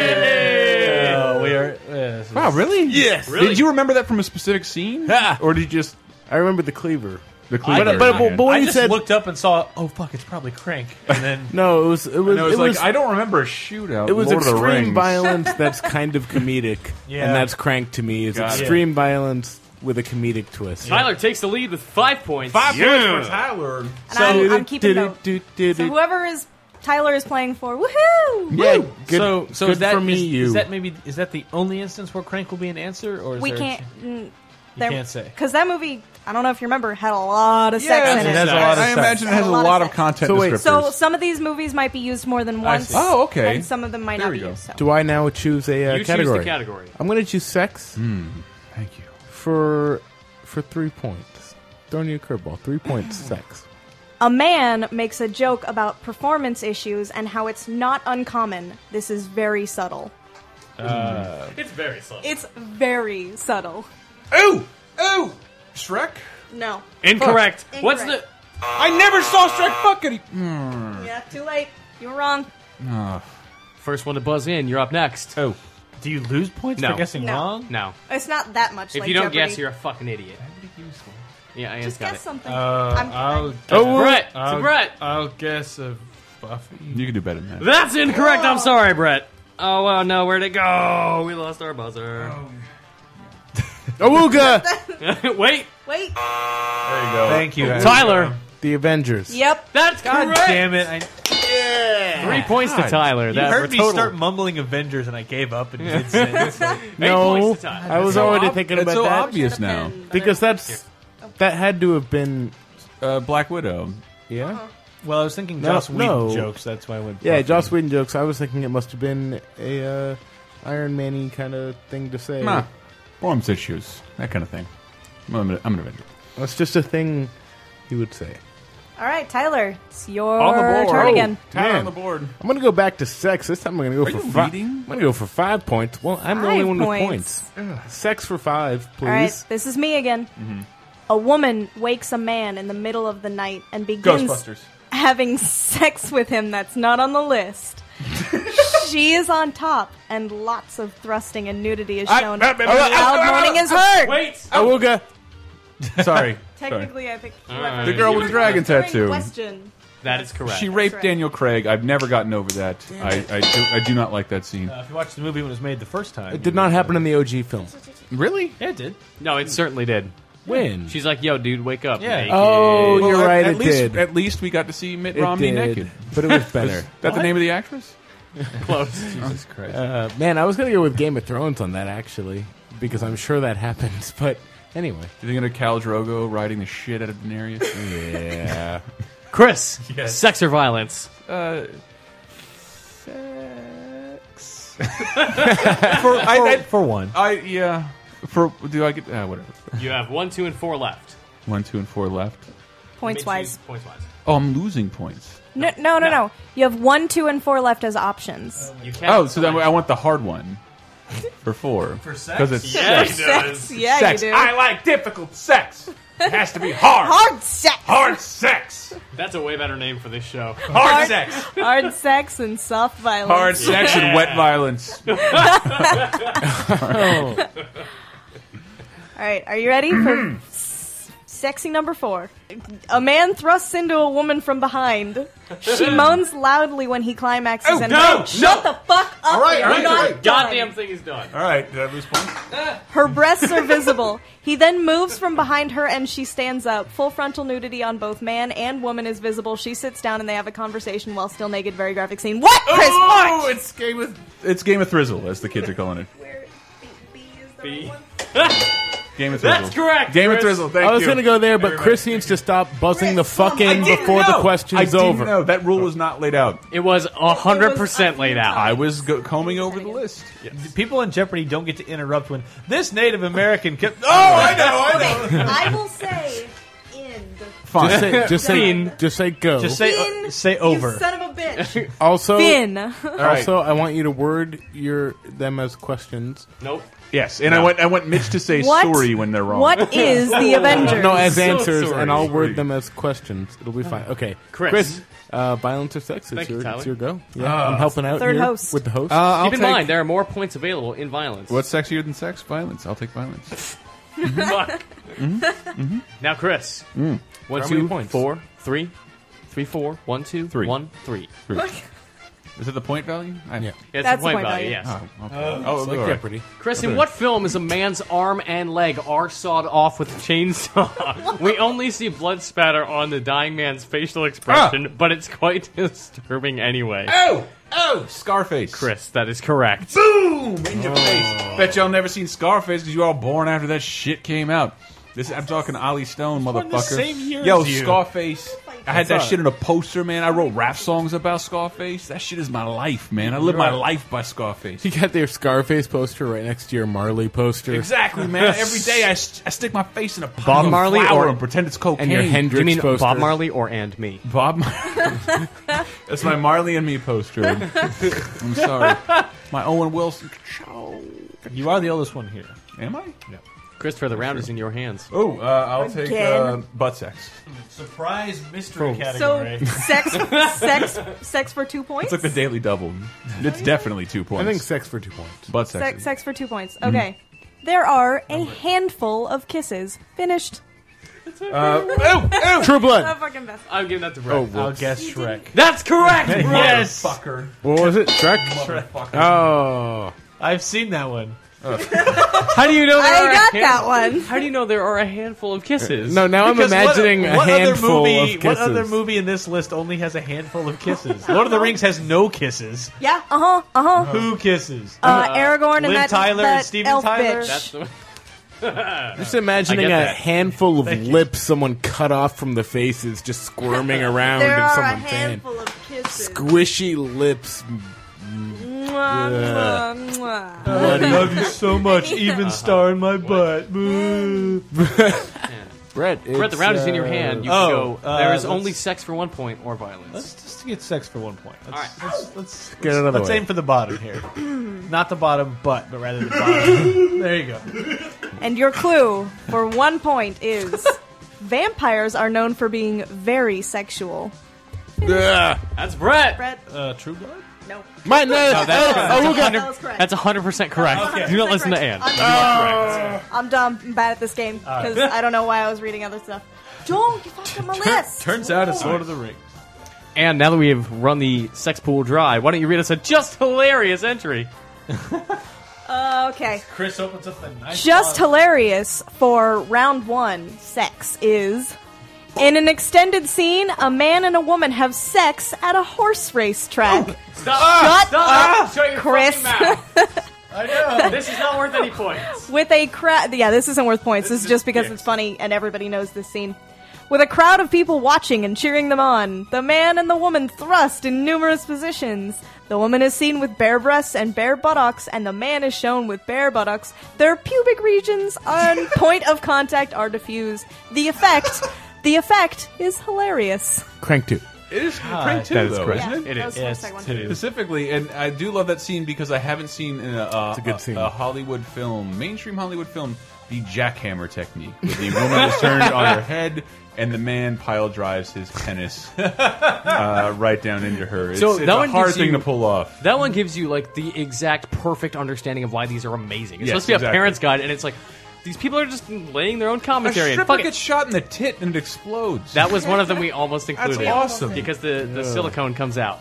[SPEAKER 4] Yay!
[SPEAKER 5] Oh, we are. Uh,
[SPEAKER 9] Wow, really? Yes.
[SPEAKER 3] Did you remember that from a specific scene,
[SPEAKER 9] Ah.
[SPEAKER 3] or did you just
[SPEAKER 9] I remember the cleaver.
[SPEAKER 3] the
[SPEAKER 9] But,
[SPEAKER 3] cleaver?
[SPEAKER 9] but, but, but when
[SPEAKER 5] I
[SPEAKER 9] you
[SPEAKER 5] just
[SPEAKER 9] said
[SPEAKER 5] looked up and saw. Oh fuck! It's probably Crank. And then
[SPEAKER 9] no, it was it was
[SPEAKER 3] And I was
[SPEAKER 9] it
[SPEAKER 3] like,
[SPEAKER 9] was,
[SPEAKER 3] I don't remember a shootout.
[SPEAKER 9] it was
[SPEAKER 3] Lord of the
[SPEAKER 9] extreme
[SPEAKER 3] Rings.
[SPEAKER 9] violence that's kind of comedic,
[SPEAKER 5] Yeah.
[SPEAKER 9] and that's crank to me. Is
[SPEAKER 3] Got it.
[SPEAKER 9] extreme violence with a comedic twist.
[SPEAKER 4] Tyler takes the lead with five points.
[SPEAKER 3] Five points for Tyler.
[SPEAKER 6] And I'm, I'm keeping note. So whoever is Tyler is playing for, woohoo!
[SPEAKER 9] Yeah, good,
[SPEAKER 5] so so
[SPEAKER 9] good
[SPEAKER 5] is that
[SPEAKER 9] for me.
[SPEAKER 5] is-
[SPEAKER 9] you.
[SPEAKER 5] is that maybe is that the only instance where Crank will be an answer, or is
[SPEAKER 6] We
[SPEAKER 5] there a
[SPEAKER 6] can't.
[SPEAKER 5] ch-
[SPEAKER 6] You
[SPEAKER 5] can't say.
[SPEAKER 6] because that movie. I don't know if you remember had a lot of sex in it.
[SPEAKER 5] it has a lot of
[SPEAKER 3] I imagine it has a lot of content
[SPEAKER 9] So wait,
[SPEAKER 3] descriptors.
[SPEAKER 6] So some of these movies might be used more than once.
[SPEAKER 5] see.
[SPEAKER 3] Oh, okay.
[SPEAKER 6] And some of them might
[SPEAKER 3] There
[SPEAKER 6] not
[SPEAKER 3] we
[SPEAKER 6] be
[SPEAKER 3] go.
[SPEAKER 6] used. So.
[SPEAKER 9] Do I now choose a uh,
[SPEAKER 4] You choose the
[SPEAKER 9] category?
[SPEAKER 4] category.
[SPEAKER 9] I'm going to choose sex
[SPEAKER 3] Thank you.
[SPEAKER 9] for for three points. Throwing you a curveball. Three points. sex.
[SPEAKER 6] a man makes a joke about performance issues and how it's not uncommon. This is very subtle.
[SPEAKER 4] It's very slow.
[SPEAKER 6] It's very subtle.
[SPEAKER 3] Ooh, ooh, Oh, Shrek.
[SPEAKER 6] No.
[SPEAKER 4] Incorrect.
[SPEAKER 6] Fuck.
[SPEAKER 4] What's the?
[SPEAKER 6] Incorrect.
[SPEAKER 3] I never saw Shrek fucking.
[SPEAKER 6] Yeah, too late. You were wrong.
[SPEAKER 4] First one to buzz in, you're up next.
[SPEAKER 3] Oh,
[SPEAKER 5] do you lose points
[SPEAKER 4] No.
[SPEAKER 5] for guessing
[SPEAKER 6] No.
[SPEAKER 5] wrong?
[SPEAKER 4] No.
[SPEAKER 6] It's not that much.
[SPEAKER 4] If
[SPEAKER 6] like
[SPEAKER 4] you don't
[SPEAKER 6] Jeopardy.
[SPEAKER 4] guess, you're a fucking idiot. Yeah, I
[SPEAKER 6] just
[SPEAKER 4] got
[SPEAKER 6] guess
[SPEAKER 4] it.
[SPEAKER 6] something.
[SPEAKER 5] Uh,
[SPEAKER 6] I'm
[SPEAKER 5] I'll,
[SPEAKER 9] Oh,
[SPEAKER 4] Brett. It's
[SPEAKER 5] I'll,
[SPEAKER 4] Brett.
[SPEAKER 5] I'll guess a Buffy.
[SPEAKER 3] you can do better than that.
[SPEAKER 4] That's incorrect. I'm sorry, Brett. Oh well, no, where'd it go? We lost our buzzer. Wait,
[SPEAKER 9] Awooga!
[SPEAKER 6] Wait.
[SPEAKER 3] There you go.
[SPEAKER 9] Uh,
[SPEAKER 5] Thank
[SPEAKER 9] oh,
[SPEAKER 5] you.
[SPEAKER 4] Tyler.
[SPEAKER 9] the Avengers.
[SPEAKER 6] Yep.
[SPEAKER 4] That's
[SPEAKER 5] God
[SPEAKER 4] correct.
[SPEAKER 5] damn it! I
[SPEAKER 4] Three points to
[SPEAKER 3] God.
[SPEAKER 4] Tyler.
[SPEAKER 5] Eh. you
[SPEAKER 4] That
[SPEAKER 5] heard
[SPEAKER 4] we're
[SPEAKER 5] me
[SPEAKER 4] total.
[SPEAKER 5] start mumbling Avengers, and I gave up in mid-sentence.
[SPEAKER 9] No,
[SPEAKER 4] points to Tyler.
[SPEAKER 9] I was
[SPEAKER 3] So
[SPEAKER 9] already
[SPEAKER 3] ob-
[SPEAKER 9] thinking
[SPEAKER 3] it's
[SPEAKER 9] about
[SPEAKER 3] so
[SPEAKER 9] that
[SPEAKER 3] obvious now.
[SPEAKER 9] because that's that had to have been
[SPEAKER 3] Uh, Black Widow.
[SPEAKER 9] yeah.
[SPEAKER 6] Uh-huh.
[SPEAKER 5] well, I was thinking
[SPEAKER 9] No,
[SPEAKER 5] Joss Whedon
[SPEAKER 9] no.
[SPEAKER 5] jokes. That's why I went.
[SPEAKER 9] Yeah,
[SPEAKER 5] Buffy.
[SPEAKER 9] Joss Whedon jokes. I was thinking it must have been a uh, Iron Man kind of thing to say.
[SPEAKER 3] Nah, forms issues, that kind of thing. I'm an, I'm an Avenger.
[SPEAKER 9] It's just a thing he would say.
[SPEAKER 6] All right, Tyler, it's your
[SPEAKER 9] on the board.
[SPEAKER 6] turn
[SPEAKER 3] Oh,
[SPEAKER 6] again.
[SPEAKER 9] Man. I'm gonna go back to sex. This time I'm gonna go
[SPEAKER 6] Are
[SPEAKER 9] for
[SPEAKER 6] you
[SPEAKER 9] fi-
[SPEAKER 6] reading?
[SPEAKER 9] I'm gonna go for five points. Well, I'm the
[SPEAKER 6] Five
[SPEAKER 9] only one
[SPEAKER 6] points.
[SPEAKER 9] with points. Sex for five, please.
[SPEAKER 6] All right, this is me again.
[SPEAKER 3] Mm-hmm.
[SPEAKER 6] A woman wakes a man in the middle of the night and begins
[SPEAKER 3] Ghostbusters.
[SPEAKER 6] having sex with him that's not on the list. she is on top, and lots of thrusting and nudity is
[SPEAKER 9] I-
[SPEAKER 6] shown.
[SPEAKER 9] I- I- I-
[SPEAKER 6] Loud
[SPEAKER 9] I- I-
[SPEAKER 6] moaning is
[SPEAKER 9] I-
[SPEAKER 6] heard.
[SPEAKER 9] Wait,
[SPEAKER 3] Oh.
[SPEAKER 9] Awooga.
[SPEAKER 3] Sorry.
[SPEAKER 6] Technically, I think
[SPEAKER 3] All right. The girl with the dragon tattoo.
[SPEAKER 6] Question.
[SPEAKER 4] That is correct.
[SPEAKER 3] She raped Daniel Craig. I've never gotten over that. I, I, do, I do not like that scene.
[SPEAKER 5] Uh, if you watch the movie when it was made the first time,
[SPEAKER 9] It did not happen in the OG film.
[SPEAKER 3] Really?
[SPEAKER 5] Yeah, it did.
[SPEAKER 4] No, it certainly did.
[SPEAKER 9] When?
[SPEAKER 4] She's like, yo, dude, wake up.
[SPEAKER 5] Yeah.
[SPEAKER 4] naked."
[SPEAKER 9] Oh,
[SPEAKER 3] Well,
[SPEAKER 9] you're
[SPEAKER 3] at-
[SPEAKER 9] right.
[SPEAKER 3] At
[SPEAKER 9] it
[SPEAKER 3] least,
[SPEAKER 9] did.
[SPEAKER 3] At least we got to see Mitt
[SPEAKER 9] It
[SPEAKER 3] Romney
[SPEAKER 9] did.
[SPEAKER 3] naked.
[SPEAKER 9] But it was better.
[SPEAKER 3] Is that the name of the actress?
[SPEAKER 4] Close.
[SPEAKER 5] Jesus Christ.
[SPEAKER 9] Uh, man, I was gonna go with Game of Thrones on that actually, because I'm sure that happens. But anyway,
[SPEAKER 3] You thinking of Cal Drogo riding the shit out of Daenerys?
[SPEAKER 9] yeah.
[SPEAKER 4] Chris,
[SPEAKER 5] Yes.
[SPEAKER 4] sex or violence?
[SPEAKER 3] uh, for, I, I,
[SPEAKER 5] For one,
[SPEAKER 3] I yeah. For do I get uh, whatever?
[SPEAKER 4] You have one, two, and four left.
[SPEAKER 3] One, two, and four left.
[SPEAKER 6] Points wise.
[SPEAKER 4] Points wise.
[SPEAKER 3] Oh, I'm losing points.
[SPEAKER 6] No, no, no, no. You have one, two, and four left as options.
[SPEAKER 4] You can't.
[SPEAKER 3] Oh, so then I want the hard one for four for
[SPEAKER 5] sex?
[SPEAKER 3] it's
[SPEAKER 4] Yeah,
[SPEAKER 3] sex.
[SPEAKER 4] he
[SPEAKER 6] Sex.
[SPEAKER 4] does.
[SPEAKER 6] Yeah,
[SPEAKER 3] Sex.
[SPEAKER 6] you do.
[SPEAKER 3] I like difficult sex. It has to be hard.
[SPEAKER 6] Hard sex.
[SPEAKER 3] Hard sex.
[SPEAKER 4] That's a way better name for this show.
[SPEAKER 3] Hard, sex.
[SPEAKER 6] Hard sex and soft violence.
[SPEAKER 3] Hard sex and wet violence.
[SPEAKER 6] All right, are you ready for
[SPEAKER 3] Mm-hmm.
[SPEAKER 6] s- sexy number four? A man thrusts into a woman from behind. She moans loudly when he climaxes and
[SPEAKER 3] Oh, no, no.
[SPEAKER 6] shut the fuck up. All
[SPEAKER 3] right, all right, all right.
[SPEAKER 4] Goddamn thing is done.
[SPEAKER 3] All right, did I lose points?
[SPEAKER 6] Her breasts are visible. He then moves from behind her and she stands up. Full frontal nudity on both man and woman is visible. She sits down and they have a conversation while still naked. Very graphic scene. What, Chris?
[SPEAKER 3] Oh,
[SPEAKER 6] What?
[SPEAKER 3] it's game of it's game of thrizzle, as the kids are calling it. Game of thrizzle.
[SPEAKER 4] That's correct,
[SPEAKER 3] Game
[SPEAKER 4] Chris.
[SPEAKER 3] of thrizzle. Thank
[SPEAKER 9] I was
[SPEAKER 3] you.
[SPEAKER 9] gonna go there, but Chris needs to stop buzzing the fuck in before the question
[SPEAKER 3] I
[SPEAKER 9] is
[SPEAKER 3] didn't
[SPEAKER 9] over.
[SPEAKER 3] know. that rule was not laid out.
[SPEAKER 4] It was hundred percent laid
[SPEAKER 3] I
[SPEAKER 4] out.
[SPEAKER 3] was go- combing over the list.
[SPEAKER 5] people in Jeopardy don't get to interrupt when this Native American. Kept,
[SPEAKER 3] Oh, I know, I know.
[SPEAKER 6] I will say end.
[SPEAKER 9] Just say, just say,
[SPEAKER 4] Fine.
[SPEAKER 9] just say go.
[SPEAKER 5] Just say uh, say over.
[SPEAKER 6] You son of a bitch.
[SPEAKER 9] also,
[SPEAKER 6] Finn.
[SPEAKER 3] right.
[SPEAKER 9] also, I want you to word your them as questions.
[SPEAKER 4] Nope.
[SPEAKER 3] Yes, and I want I want Mitch to say
[SPEAKER 6] What?
[SPEAKER 3] sorry when they're wrong.
[SPEAKER 6] What is the Avengers?
[SPEAKER 9] No, as
[SPEAKER 4] So
[SPEAKER 9] answers,
[SPEAKER 4] sorry.
[SPEAKER 9] and I'll word them as questions. It'll be fine. Okay,
[SPEAKER 4] Chris.
[SPEAKER 9] uh, violence or sex? It's,
[SPEAKER 4] Thank you,
[SPEAKER 9] your,
[SPEAKER 4] Tyler.
[SPEAKER 9] it's your go. Yeah, I'm helping out
[SPEAKER 6] Third
[SPEAKER 9] here
[SPEAKER 6] host.
[SPEAKER 9] with the host.
[SPEAKER 3] Uh,
[SPEAKER 4] Keep in mind, there are more points available in violence.
[SPEAKER 3] what's sexier than sex? Violence. I'll take violence.
[SPEAKER 4] Fuck. Now, Chris. One,
[SPEAKER 9] How many
[SPEAKER 4] two,
[SPEAKER 9] points?
[SPEAKER 4] four, three, three, four, one, two,
[SPEAKER 3] Three.
[SPEAKER 4] one, three.
[SPEAKER 3] Is it the point value? I,
[SPEAKER 9] Yeah.
[SPEAKER 4] It's
[SPEAKER 6] That's
[SPEAKER 4] a point
[SPEAKER 6] my value.
[SPEAKER 4] value, yes.
[SPEAKER 3] Oh, okay. oh
[SPEAKER 9] like
[SPEAKER 3] all right.
[SPEAKER 9] Jeopardy.
[SPEAKER 4] Chris, in what film is a man's arm and leg are sawed off with a chainsaw? we only see blood spatter on the dying man's facial expression, but it's quite disturbing anyway.
[SPEAKER 3] Oh, oh, Scarface.
[SPEAKER 4] Chris, that is correct.
[SPEAKER 3] Boom in your face. Bet y'all never seen Scarface because you all born after that shit came out. This I'm talking Ollie Stone,
[SPEAKER 5] born
[SPEAKER 3] motherfucker.
[SPEAKER 5] the same year
[SPEAKER 3] Yo,
[SPEAKER 5] as you.
[SPEAKER 3] Scarface. I had that shit in a poster, man. I wrote rap songs about Scarface. That shit is my life, man. I live my life by Scarface.
[SPEAKER 9] You got their Scarface poster right next to your Marley poster,
[SPEAKER 3] Exactly, man. Every day I, st- I stick my face in a pile
[SPEAKER 4] Bob
[SPEAKER 3] of
[SPEAKER 4] Marley
[SPEAKER 3] flour
[SPEAKER 4] or-
[SPEAKER 3] and pretend it's cocaine.
[SPEAKER 9] and your Hendrix
[SPEAKER 4] Do you mean
[SPEAKER 9] poster.
[SPEAKER 4] Bob Marley or and me?
[SPEAKER 3] Bob. Mar- That's my Marley and Me poster. I'm sorry. My Owen Wilson.
[SPEAKER 5] You are the oldest one here.
[SPEAKER 3] Am I?
[SPEAKER 4] Christopher, the round is in your hands.
[SPEAKER 3] Oh, uh, I'll take uh,
[SPEAKER 6] Again.
[SPEAKER 3] butt sex.
[SPEAKER 5] Surprise mystery
[SPEAKER 6] So sex, sex, sex for two points.
[SPEAKER 3] It's like the Daily Double. It's definitely two
[SPEAKER 9] I
[SPEAKER 3] points.
[SPEAKER 9] think sex for two points.
[SPEAKER 3] butt sex.
[SPEAKER 6] sex, sex for two points. Okay, there are a handful of kisses. Finished.
[SPEAKER 9] True
[SPEAKER 6] The
[SPEAKER 9] Blood.
[SPEAKER 6] fucking best.
[SPEAKER 4] I'm giving that to Brett.
[SPEAKER 5] I'll guess Shrek.
[SPEAKER 9] Oh.
[SPEAKER 4] That's correct, bro.
[SPEAKER 5] Yes,
[SPEAKER 3] Fucker.
[SPEAKER 9] What was it? Shrek. Oh,
[SPEAKER 5] I've seen that one.
[SPEAKER 4] How do you know there
[SPEAKER 6] I
[SPEAKER 4] are a
[SPEAKER 6] got
[SPEAKER 4] hand-
[SPEAKER 6] that one.
[SPEAKER 4] How do you know there are a handful of kisses?
[SPEAKER 9] no! Now
[SPEAKER 5] Because
[SPEAKER 9] I'm imagining
[SPEAKER 5] what,
[SPEAKER 9] a
[SPEAKER 5] what
[SPEAKER 9] handful
[SPEAKER 5] other movie,
[SPEAKER 9] of kisses.
[SPEAKER 5] What other movie in this list only has a handful of kisses? Lord of the Rings has no kisses.
[SPEAKER 6] Yeah. Uh huh. Uh huh.
[SPEAKER 5] Who kisses?
[SPEAKER 6] Uh, Aragorn
[SPEAKER 5] Liv
[SPEAKER 6] and that,
[SPEAKER 5] Tyler
[SPEAKER 6] that
[SPEAKER 5] and Steven
[SPEAKER 6] elf
[SPEAKER 5] Tyler?
[SPEAKER 6] bitch.
[SPEAKER 4] That's the
[SPEAKER 9] Just imagining
[SPEAKER 4] I
[SPEAKER 9] a
[SPEAKER 4] get that.
[SPEAKER 9] handful of lips someone cut off from the faces just squirming around
[SPEAKER 6] there
[SPEAKER 9] in
[SPEAKER 6] are a
[SPEAKER 9] someone's hand.
[SPEAKER 6] handful of kisses.
[SPEAKER 9] Squishy lips.
[SPEAKER 6] Mwah, mwah, mwah.
[SPEAKER 5] Uh-huh. I love you so much, even star in my butt. Boo.
[SPEAKER 9] Brett,
[SPEAKER 4] Brett, the
[SPEAKER 9] it's,
[SPEAKER 4] round is in
[SPEAKER 9] uh,
[SPEAKER 4] your hand. You
[SPEAKER 5] oh,
[SPEAKER 4] can go. There
[SPEAKER 5] uh,
[SPEAKER 4] is only
[SPEAKER 5] let's-
[SPEAKER 4] sex for one point or violence.
[SPEAKER 5] Let's just get sex for one point. Let's,
[SPEAKER 4] All
[SPEAKER 5] right. let's, let's,
[SPEAKER 9] Get another
[SPEAKER 5] let's
[SPEAKER 9] one.
[SPEAKER 5] aim for the bottom here. Not the bottom butt, but rather the bottom. there you go.
[SPEAKER 6] And your clue for one point is vampires are known for being very sexual.
[SPEAKER 4] That's Brett.
[SPEAKER 6] Brett?
[SPEAKER 5] Uh, True Blood?
[SPEAKER 6] No.
[SPEAKER 9] My name.
[SPEAKER 4] that's-
[SPEAKER 9] oh, who got-
[SPEAKER 6] That was correct.
[SPEAKER 4] That's 100% correct. Do not listen to Anne.
[SPEAKER 6] I'm, I'm dumb. I'm bad at this game because I don't know why I was reading other stuff. Joel, you fucked up my list.
[SPEAKER 5] Turns out it's Lord of the Rings.
[SPEAKER 4] And now that we have run the sex pool dry, why don't you read us a just hilarious entry?
[SPEAKER 6] okay.
[SPEAKER 5] Chris opens up the knife.
[SPEAKER 6] Just hilarious for round one sex is. In an extended scene, a man and a woman have sex at a horse race track.
[SPEAKER 4] Stop!
[SPEAKER 6] Shut up, Chris.
[SPEAKER 5] I know.
[SPEAKER 4] this is not worth any points.
[SPEAKER 6] with a crowd. Yeah, this isn't worth points. This, is just because it's funny and everybody knows this scene. With a crowd of people watching and cheering them on, the man and the woman thrust in numerous positions. The woman is seen with bare breasts and bare buttocks, and the man is shown with bare buttocks. Their pubic regions and point of contact are diffused. The effect, the effect is hilarious.
[SPEAKER 9] Crank two.
[SPEAKER 3] It is Crank Two,
[SPEAKER 9] that is
[SPEAKER 3] though,
[SPEAKER 9] correct.
[SPEAKER 3] isn't it?
[SPEAKER 6] that was my second one.
[SPEAKER 3] Specifically, and I do love that scene because I haven't seen in a, uh,
[SPEAKER 9] a good scene.
[SPEAKER 3] Hollywood film, mainstream Hollywood film, the jackhammer technique. Where the woman is turned on her head and the man pile drives his penis uh, right down into her. It's,
[SPEAKER 4] So
[SPEAKER 3] it's
[SPEAKER 4] that
[SPEAKER 3] a
[SPEAKER 4] one
[SPEAKER 3] hard
[SPEAKER 4] gives
[SPEAKER 3] thing
[SPEAKER 4] you-
[SPEAKER 3] to pull off.
[SPEAKER 4] That one gives you like the exact perfect understanding of why these are amazing. It's
[SPEAKER 3] Yes,
[SPEAKER 4] supposed to be
[SPEAKER 3] exactly.
[SPEAKER 4] a parent's guide, and it's like these people are just laying their own
[SPEAKER 3] A
[SPEAKER 4] commentary. and
[SPEAKER 3] stripper
[SPEAKER 4] fuck it.
[SPEAKER 3] gets shgot in the tit and it explodes.
[SPEAKER 4] That was one of them we almost
[SPEAKER 3] That's
[SPEAKER 4] included.
[SPEAKER 3] awesome.
[SPEAKER 4] because the, the silicone comes out.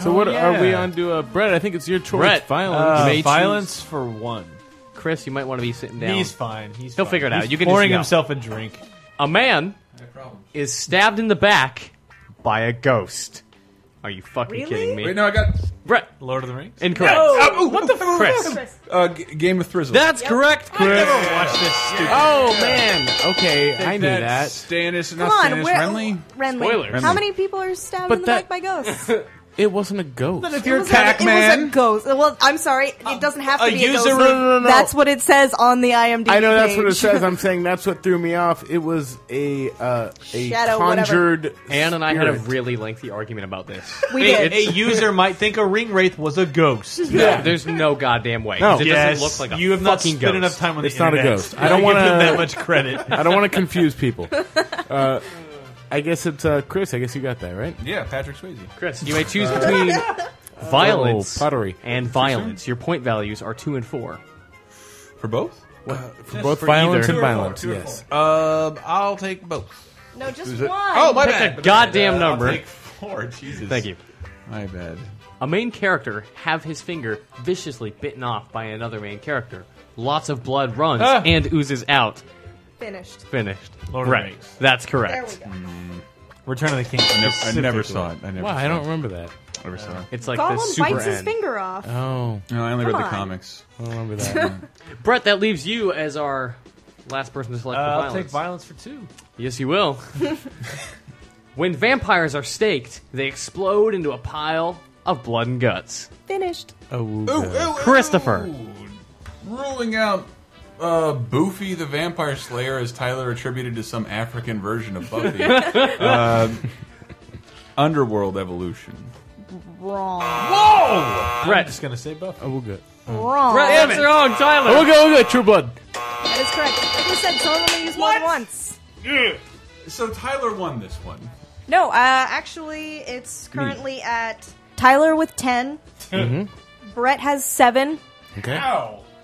[SPEAKER 9] So what
[SPEAKER 3] yeah.
[SPEAKER 9] are we on to? Uh, Brett, I think it's your choice.
[SPEAKER 4] Brett.
[SPEAKER 9] Violence.
[SPEAKER 4] Uh,
[SPEAKER 9] You may choose-
[SPEAKER 5] violence for one.
[SPEAKER 4] Chris, you might want to be sitting down.
[SPEAKER 5] He's fine. He's
[SPEAKER 4] He'll
[SPEAKER 5] fine.
[SPEAKER 4] figure it out.
[SPEAKER 5] He's
[SPEAKER 4] You can just
[SPEAKER 5] pouring
[SPEAKER 4] yell.
[SPEAKER 5] himself a drink.
[SPEAKER 4] A man is stabbed in the back by a ghost. Are you fucking
[SPEAKER 6] Really?
[SPEAKER 4] kidding me?
[SPEAKER 3] Wait, no, I got
[SPEAKER 4] Brett,
[SPEAKER 5] Lord of the Rings.
[SPEAKER 4] incorrect.
[SPEAKER 3] what the
[SPEAKER 4] Chris.
[SPEAKER 3] Uh, G- Game of Thrizzle.
[SPEAKER 4] That's correct, Chris.
[SPEAKER 5] Watch this. Stupid.
[SPEAKER 4] Oh man.
[SPEAKER 9] Okay, I knew
[SPEAKER 3] That's
[SPEAKER 9] that.
[SPEAKER 3] Stannis,
[SPEAKER 6] Come
[SPEAKER 3] not
[SPEAKER 6] on,
[SPEAKER 3] Stannis
[SPEAKER 6] where,
[SPEAKER 3] Renly.
[SPEAKER 6] Renly.
[SPEAKER 4] Spoilers.
[SPEAKER 6] How
[SPEAKER 3] Renly.
[SPEAKER 6] many people are stabbed
[SPEAKER 9] But
[SPEAKER 6] in the back
[SPEAKER 9] that-
[SPEAKER 6] by ghosts?
[SPEAKER 9] It wasn't a ghost.
[SPEAKER 6] It was a- It was a ghost. Well, I'm sorry. It doesn't have to
[SPEAKER 5] a
[SPEAKER 6] be a
[SPEAKER 5] user- No,
[SPEAKER 6] ghost.
[SPEAKER 9] no, no, no.
[SPEAKER 6] That's what it says on the IMDb.
[SPEAKER 9] I know that's what it
[SPEAKER 6] page.
[SPEAKER 9] says. I'm saying that's what threw me off. It was a uh, a
[SPEAKER 6] Shadow,
[SPEAKER 9] conjured.
[SPEAKER 4] Anne and I had a
[SPEAKER 9] spirit.
[SPEAKER 4] really lengthy argument about this.
[SPEAKER 6] We
[SPEAKER 5] A,
[SPEAKER 6] did.
[SPEAKER 5] a user might think a ring wraith was a ghost.
[SPEAKER 4] Yeah. There's no goddamn way. 'cause
[SPEAKER 9] No.
[SPEAKER 4] It
[SPEAKER 5] yes,
[SPEAKER 4] doesn't look like a
[SPEAKER 5] you have not
[SPEAKER 4] fucking
[SPEAKER 5] spent
[SPEAKER 4] ghost.
[SPEAKER 5] enough time on
[SPEAKER 9] It's
[SPEAKER 5] the
[SPEAKER 9] not a
[SPEAKER 5] internet.
[SPEAKER 9] ghost. I don't
[SPEAKER 5] give
[SPEAKER 9] wanna-
[SPEAKER 5] them that much credit.
[SPEAKER 9] I don't want to confuse people. Uh, I guess it's uh, Chris. I guess you got that right.
[SPEAKER 3] Yeah, Patrick Swayze.
[SPEAKER 4] Chris, you may choose between violence
[SPEAKER 9] Oh, pottery.
[SPEAKER 4] and violence. Your point values are two and four.
[SPEAKER 3] For both?
[SPEAKER 9] For both violence
[SPEAKER 4] either.
[SPEAKER 9] and violence. Yes.
[SPEAKER 3] Um, I'll take both.
[SPEAKER 6] no, just
[SPEAKER 3] Who's
[SPEAKER 6] one.
[SPEAKER 3] it? Oh, my
[SPEAKER 4] Pick
[SPEAKER 3] bad.
[SPEAKER 4] a goddamn
[SPEAKER 3] Uh,
[SPEAKER 4] number.
[SPEAKER 3] I'll take four. Jesus.
[SPEAKER 4] Thank you.
[SPEAKER 3] My bad.
[SPEAKER 4] A main character have his finger viciously bitten off by another main character. Lots of blood runs
[SPEAKER 5] Ah.
[SPEAKER 4] and oozes out.
[SPEAKER 6] Finished.
[SPEAKER 4] Finished.
[SPEAKER 5] Lord of the
[SPEAKER 4] right.
[SPEAKER 5] Rings.
[SPEAKER 4] That's
[SPEAKER 6] There we
[SPEAKER 4] correct.
[SPEAKER 6] go.
[SPEAKER 5] Return of the King.
[SPEAKER 3] I never, I never saw it. I never.
[SPEAKER 9] Wow,
[SPEAKER 3] saw
[SPEAKER 9] I don't
[SPEAKER 3] It.
[SPEAKER 9] remember that.
[SPEAKER 3] Never saw it.
[SPEAKER 4] It's like the
[SPEAKER 6] Gollum
[SPEAKER 4] super
[SPEAKER 6] bites his
[SPEAKER 4] end.
[SPEAKER 6] finger off.
[SPEAKER 3] Uh-huh.
[SPEAKER 9] Oh,
[SPEAKER 3] No, I only read
[SPEAKER 6] Come
[SPEAKER 3] the
[SPEAKER 6] on.
[SPEAKER 3] comics.
[SPEAKER 9] I don't remember that.
[SPEAKER 4] Brett, that leaves you as our last person to select
[SPEAKER 5] Uh,
[SPEAKER 4] for
[SPEAKER 5] I'll
[SPEAKER 4] violence.
[SPEAKER 5] take violence for two.
[SPEAKER 4] Yes, you will. when vampires are staked, they explode into a pile of blood and guts.
[SPEAKER 6] Finished.
[SPEAKER 9] oh,
[SPEAKER 4] Christopher.
[SPEAKER 3] Ruling out uh, Boofy the Vampire Slayer as Tyler attributed to some African version of Buffy. uh, underworld evolution.
[SPEAKER 6] Wrong.
[SPEAKER 4] Brett.
[SPEAKER 5] Just gonna say buff.
[SPEAKER 9] oh, good.
[SPEAKER 6] Wrong.
[SPEAKER 4] Brett,
[SPEAKER 6] That
[SPEAKER 4] that's wrong, Tyler.
[SPEAKER 9] Oh, good. Oh, good. True Blood.
[SPEAKER 6] is correct. Like I said, some of them use more than once.
[SPEAKER 3] So Tyler won this one.
[SPEAKER 6] No, uh, actually, it's
[SPEAKER 3] Hmm.
[SPEAKER 6] currently at Tyler with 10.
[SPEAKER 3] Mm-hmm.
[SPEAKER 6] Brett has 7.
[SPEAKER 9] Okay.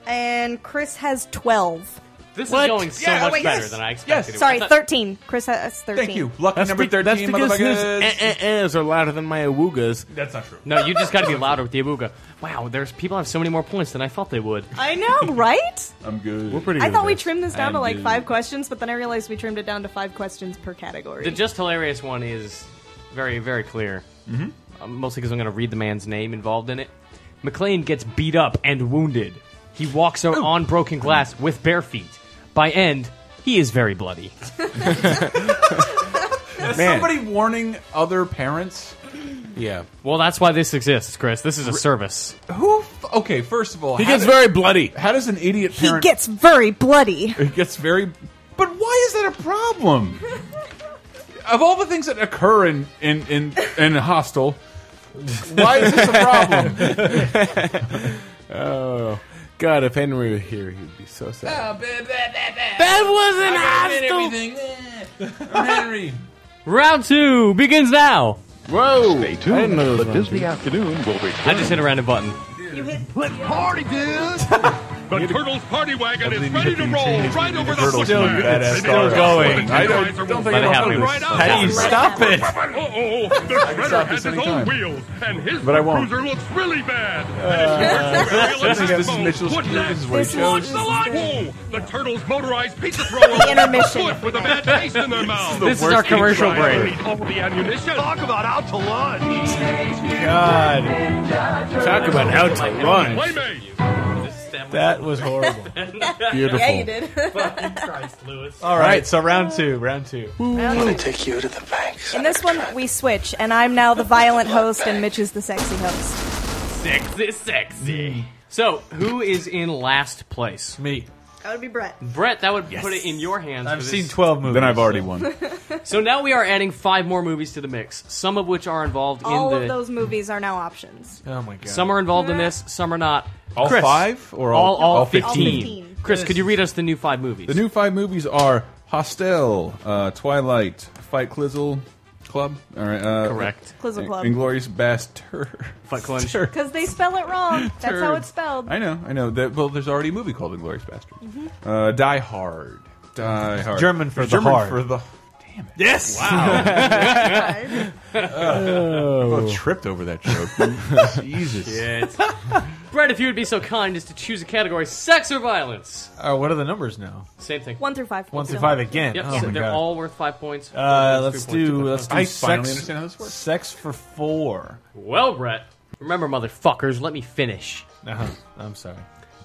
[SPEAKER 6] And Chris has 12.
[SPEAKER 4] This is going so
[SPEAKER 3] Yeah,
[SPEAKER 4] much
[SPEAKER 3] wait,
[SPEAKER 4] better
[SPEAKER 3] yes.
[SPEAKER 4] than I expected.
[SPEAKER 3] Yes.
[SPEAKER 4] it
[SPEAKER 6] Sorry,
[SPEAKER 4] was.
[SPEAKER 6] 13. Chris has 13.
[SPEAKER 3] Thank you. Lucky
[SPEAKER 9] That's,
[SPEAKER 3] number
[SPEAKER 9] be- that's
[SPEAKER 3] thirteen,
[SPEAKER 9] because his
[SPEAKER 3] motherfuckers.
[SPEAKER 9] eh, eh, ehs are louder than my awoogas.
[SPEAKER 3] That's not true.
[SPEAKER 4] No, you just got to be louder with the abuga. Wow, there's people have so many more points than I thought they would.
[SPEAKER 6] I know, right?
[SPEAKER 3] I'm good.
[SPEAKER 9] We're pretty.
[SPEAKER 6] I
[SPEAKER 9] good
[SPEAKER 6] thought we
[SPEAKER 9] at this.
[SPEAKER 6] trimmed this down to
[SPEAKER 3] And
[SPEAKER 6] like
[SPEAKER 3] the-
[SPEAKER 6] five questions, but then I realized we trimmed it down to five questions per
[SPEAKER 4] The
[SPEAKER 6] category.
[SPEAKER 4] just hilarious one is very, very clear. Mm-hmm. mostly because I'm going to read the man's name involved in it. McLean gets beat up and wounded. He walks out on broken glass with bare feet. By end, he is very bloody.
[SPEAKER 9] Man.
[SPEAKER 3] Somebody warning other parents.
[SPEAKER 9] Yeah.
[SPEAKER 4] Well, that's why this exists, Chris. This is a service.
[SPEAKER 3] Who? F okay, first of all,
[SPEAKER 9] He
[SPEAKER 3] how
[SPEAKER 9] gets
[SPEAKER 3] do-
[SPEAKER 9] very bloody.
[SPEAKER 3] How does an idiot
[SPEAKER 6] He
[SPEAKER 3] parent
[SPEAKER 6] gets very bloody.
[SPEAKER 3] It gets very. But why is that a problem? of all the things that occur in in in, in Hostel, why is this a problem?
[SPEAKER 9] oh, God! If Henry were here, he'd be so sad.
[SPEAKER 7] That
[SPEAKER 9] wasn't
[SPEAKER 7] hostile. Henry.
[SPEAKER 4] Round two begins now.
[SPEAKER 9] Whoa!
[SPEAKER 4] Stay
[SPEAKER 9] tuned, I didn't know it was but round
[SPEAKER 4] Disney afternoon will be. I just hit a random button.
[SPEAKER 7] Let's party, dudes! the Turtles party wagon is ready to roll right over the
[SPEAKER 3] Turtles
[SPEAKER 7] foot
[SPEAKER 3] still
[SPEAKER 7] mat.
[SPEAKER 3] badass
[SPEAKER 7] Maybe
[SPEAKER 3] stars.
[SPEAKER 7] the
[SPEAKER 3] going.
[SPEAKER 7] guys
[SPEAKER 3] I don't-
[SPEAKER 7] are
[SPEAKER 3] don't
[SPEAKER 7] moving
[SPEAKER 3] think I know
[SPEAKER 7] right
[SPEAKER 3] how to do this.
[SPEAKER 7] out.
[SPEAKER 3] How do you stop it?
[SPEAKER 7] Uh-oh, the Shredder
[SPEAKER 3] stop
[SPEAKER 7] has
[SPEAKER 3] this
[SPEAKER 7] his
[SPEAKER 3] anytime.
[SPEAKER 7] own wheels, and his
[SPEAKER 3] But I won't.
[SPEAKER 7] cruiser looks really bad.
[SPEAKER 3] Uh, this is- this is Mitchell's-
[SPEAKER 7] What
[SPEAKER 3] this
[SPEAKER 7] next?
[SPEAKER 3] is what he
[SPEAKER 7] Watch
[SPEAKER 3] chose.
[SPEAKER 7] the light! Whoa! The Turtles motorized pizza thrower with a
[SPEAKER 6] intermission.
[SPEAKER 7] foot with a bad taste in their mouth.
[SPEAKER 3] This is the This is our worst commercial pizza I've break.
[SPEAKER 7] Delete All the ammunition. Talk about out to lunch.
[SPEAKER 5] God.
[SPEAKER 9] Talk about how to run.
[SPEAKER 7] Playmate.
[SPEAKER 5] That was horrible.
[SPEAKER 9] Beautiful.
[SPEAKER 6] Yeah, you did.
[SPEAKER 5] All right, so round two, round two.
[SPEAKER 8] I'm gonna take you to the bank.
[SPEAKER 6] In this one, we switch, and I'm now the violent host, and Mitch is the sexy host.
[SPEAKER 4] Sexy, sexy. So, who is in last place?
[SPEAKER 5] Me.
[SPEAKER 6] That would be Brett.
[SPEAKER 4] Brett, that would put it in your hands.
[SPEAKER 5] I've
[SPEAKER 4] for
[SPEAKER 5] seen
[SPEAKER 4] this.
[SPEAKER 5] 12 movies.
[SPEAKER 3] Then I've already won.
[SPEAKER 4] So now we are adding five more movies to the mix. Some of which are involved
[SPEAKER 6] All
[SPEAKER 4] in
[SPEAKER 6] of
[SPEAKER 4] the.
[SPEAKER 6] those movies are now options.
[SPEAKER 5] Oh my god.
[SPEAKER 4] Some are involved in this. Some are not.
[SPEAKER 3] All
[SPEAKER 4] Chris,
[SPEAKER 3] five or all-
[SPEAKER 4] all all,
[SPEAKER 3] all
[SPEAKER 4] 15.
[SPEAKER 6] 15.
[SPEAKER 4] Chris, could you read us the new five movies?
[SPEAKER 3] The new five movies are Hostel, uh, Twilight, Fight Clizzle Club. All right, uh,
[SPEAKER 4] correct.
[SPEAKER 6] Clizzle Club.
[SPEAKER 3] Inglorious Bastard.
[SPEAKER 4] Fight Club.
[SPEAKER 6] Because they spell it wrong. That's how it's spelled.
[SPEAKER 3] I know, I know. That, well, there's already a movie called Inglorious Bastard.
[SPEAKER 6] Mm-hmm.
[SPEAKER 3] Uh, Die Hard. Die Hard.
[SPEAKER 5] German for the
[SPEAKER 3] German
[SPEAKER 5] hard.
[SPEAKER 3] for the.
[SPEAKER 5] Yes!
[SPEAKER 3] I both tripped over that joke. Jesus.
[SPEAKER 4] Brett, if you would be so kind as to choose a category: sex or violence.
[SPEAKER 5] Uh, what are the numbers now?
[SPEAKER 4] Same thing.
[SPEAKER 6] One through five.
[SPEAKER 5] One
[SPEAKER 6] So-
[SPEAKER 5] through five again.
[SPEAKER 4] Yep.
[SPEAKER 5] Oh
[SPEAKER 4] so
[SPEAKER 5] my
[SPEAKER 4] they're
[SPEAKER 5] god.
[SPEAKER 4] all worth five points. Four
[SPEAKER 5] uh,
[SPEAKER 4] points,
[SPEAKER 5] let's
[SPEAKER 4] three points, two
[SPEAKER 5] do
[SPEAKER 4] points.
[SPEAKER 5] let's do
[SPEAKER 3] I finally
[SPEAKER 5] sex,
[SPEAKER 3] understand how this works.
[SPEAKER 5] sex for four.
[SPEAKER 4] Well, Brett. Remember, motherfuckers. Let me finish.
[SPEAKER 5] Uh-huh. I'm sorry.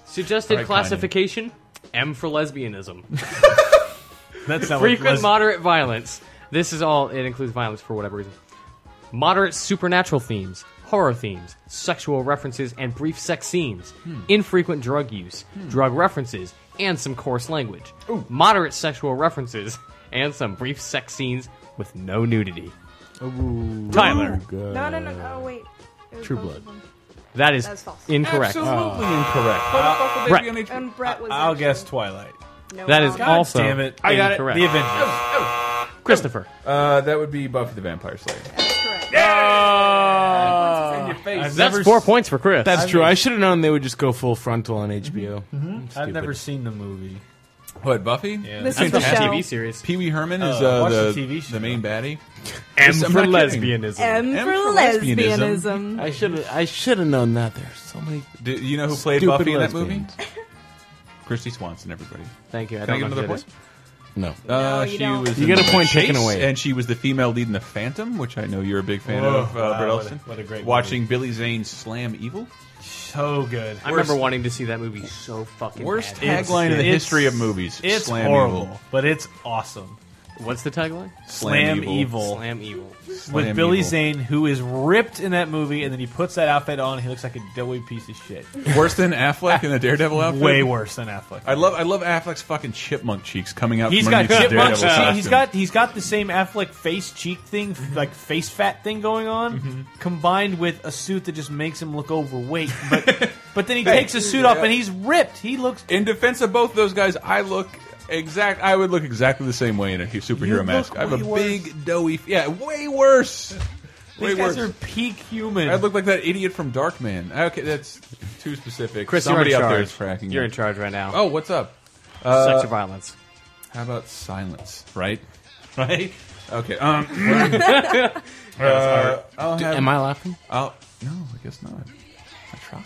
[SPEAKER 4] Suggested
[SPEAKER 3] Right,
[SPEAKER 4] classification: M for lesbianism.
[SPEAKER 5] That's not
[SPEAKER 4] Frequent
[SPEAKER 5] what
[SPEAKER 4] moderate violence. This is all. It includes violence for whatever reason. Moderate supernatural themes, horror themes, sexual references, and brief sex scenes.
[SPEAKER 5] Hmm.
[SPEAKER 4] Infrequent drug use, drug references, and some coarse language. Moderate sexual references and some brief sex scenes with no nudity. Tyler,
[SPEAKER 6] No, no, no. no, Oh, wait. It was
[SPEAKER 4] True
[SPEAKER 6] both
[SPEAKER 4] Blood.
[SPEAKER 6] of them.
[SPEAKER 4] that is
[SPEAKER 6] That's false.
[SPEAKER 4] incorrect.
[SPEAKER 3] Absolutely incorrect. Motherfucker,
[SPEAKER 4] Brett.
[SPEAKER 3] baby on H-
[SPEAKER 6] And Brett was.
[SPEAKER 5] I'll
[SPEAKER 6] actually-
[SPEAKER 5] guess Twilight.
[SPEAKER 6] No,
[SPEAKER 4] That is
[SPEAKER 6] wrong.
[SPEAKER 5] God
[SPEAKER 4] also
[SPEAKER 5] damn it.
[SPEAKER 4] I
[SPEAKER 5] got
[SPEAKER 4] got it.
[SPEAKER 5] The Avengers.
[SPEAKER 4] Christopher.
[SPEAKER 3] Uh, that would be Buffy the Vampire Slayer.
[SPEAKER 6] That's correct.
[SPEAKER 5] I've
[SPEAKER 4] That's
[SPEAKER 5] never
[SPEAKER 4] four
[SPEAKER 5] s-
[SPEAKER 4] points for Chris.
[SPEAKER 9] That's true. I Mm-hmm. should have known they would just go full frontal on HBO.
[SPEAKER 5] I've never seen the movie.
[SPEAKER 3] What, Buffy? Yeah.
[SPEAKER 6] This is the
[SPEAKER 4] That's a
[SPEAKER 6] show.
[SPEAKER 4] TV series.
[SPEAKER 3] Pee Wee Herman is
[SPEAKER 5] Uh,
[SPEAKER 3] uh,
[SPEAKER 5] watch
[SPEAKER 3] the,
[SPEAKER 5] the TV show.
[SPEAKER 3] the main baddie.
[SPEAKER 4] M
[SPEAKER 3] I'm
[SPEAKER 4] for
[SPEAKER 3] not kidding.
[SPEAKER 4] lesbianism.
[SPEAKER 6] M
[SPEAKER 3] M
[SPEAKER 6] for
[SPEAKER 3] for lesbianism.
[SPEAKER 6] lesbianism.
[SPEAKER 9] I should have. I should have known that. There's so many.
[SPEAKER 3] Do you know who played
[SPEAKER 9] Stupid
[SPEAKER 3] Buffy in that movie?
[SPEAKER 9] lesbians.
[SPEAKER 3] Christy Swanson, everybody.
[SPEAKER 4] Thank you. I
[SPEAKER 3] Can I
[SPEAKER 4] don't
[SPEAKER 3] get
[SPEAKER 4] know
[SPEAKER 3] another
[SPEAKER 4] who that
[SPEAKER 3] point?
[SPEAKER 4] is.
[SPEAKER 9] No.
[SPEAKER 3] Uh,
[SPEAKER 6] you
[SPEAKER 3] she
[SPEAKER 6] don't.
[SPEAKER 3] was
[SPEAKER 9] You
[SPEAKER 3] in
[SPEAKER 9] get a
[SPEAKER 3] The
[SPEAKER 9] point taken
[SPEAKER 3] Chase,
[SPEAKER 9] away.
[SPEAKER 3] and she was the female lead in The Phantom, which I know you're a big fan
[SPEAKER 5] Whoa.
[SPEAKER 3] of, uh,
[SPEAKER 5] Wow,
[SPEAKER 3] Brett
[SPEAKER 5] what a-
[SPEAKER 3] Elston.
[SPEAKER 5] what a great
[SPEAKER 3] Watching Billy Zane slam evil.
[SPEAKER 5] So good.
[SPEAKER 4] I remember wanting to see that movie so fucking
[SPEAKER 3] Worst
[SPEAKER 4] bad.
[SPEAKER 5] It's-
[SPEAKER 3] tagline in the
[SPEAKER 5] it's-
[SPEAKER 3] history of movies.
[SPEAKER 5] It's
[SPEAKER 3] slam
[SPEAKER 5] horrible,
[SPEAKER 3] evil.
[SPEAKER 5] but it's awesome.
[SPEAKER 4] What's the tagline?
[SPEAKER 5] Slam, evil,
[SPEAKER 4] Slam evil.
[SPEAKER 5] with
[SPEAKER 3] Slam
[SPEAKER 5] Billy
[SPEAKER 3] evil.
[SPEAKER 5] Zane, who is ripped in that movie, and then he puts that outfit on. and He looks like a doughy piece of shit.
[SPEAKER 3] Worse than Affleck in the Daredevil outfit.
[SPEAKER 5] Way worse than Affleck.
[SPEAKER 3] I love I love Affleck's fucking chipmunk cheeks coming out.
[SPEAKER 5] He's
[SPEAKER 3] from
[SPEAKER 5] got
[SPEAKER 3] underneath his
[SPEAKER 5] chipmunks.
[SPEAKER 3] Daredevil
[SPEAKER 5] See,
[SPEAKER 3] costume.
[SPEAKER 5] he's got he's got the same Affleck face cheek thing,
[SPEAKER 3] Mm-hmm.
[SPEAKER 5] like face fat thing going on, combined with a suit that just makes him look overweight. But but then he takes his suit off and he's ripped. He looks
[SPEAKER 3] In defense of both those guys, I look exact. I would look exactly the same way in a hu-
[SPEAKER 5] You
[SPEAKER 3] superhero
[SPEAKER 5] look
[SPEAKER 3] mask. I have a
[SPEAKER 5] way worse.
[SPEAKER 3] big doughy. f- Yeah, way worse. way
[SPEAKER 5] these
[SPEAKER 3] worse.
[SPEAKER 5] guys are peak human.
[SPEAKER 3] I look like that idiot from Darkman. Okay, that's too specific.
[SPEAKER 4] Chris,
[SPEAKER 3] Somebody
[SPEAKER 4] you're in
[SPEAKER 3] out
[SPEAKER 4] charge.
[SPEAKER 3] there is cracking.
[SPEAKER 4] You're
[SPEAKER 3] me.
[SPEAKER 4] in charge right now.
[SPEAKER 3] Oh, what's up?
[SPEAKER 4] Sex or violence.
[SPEAKER 3] How about silence? Right, right. Okay. Um. uh, I'll have.
[SPEAKER 9] Am I laughing?
[SPEAKER 3] I'll, no, I guess not. I tried.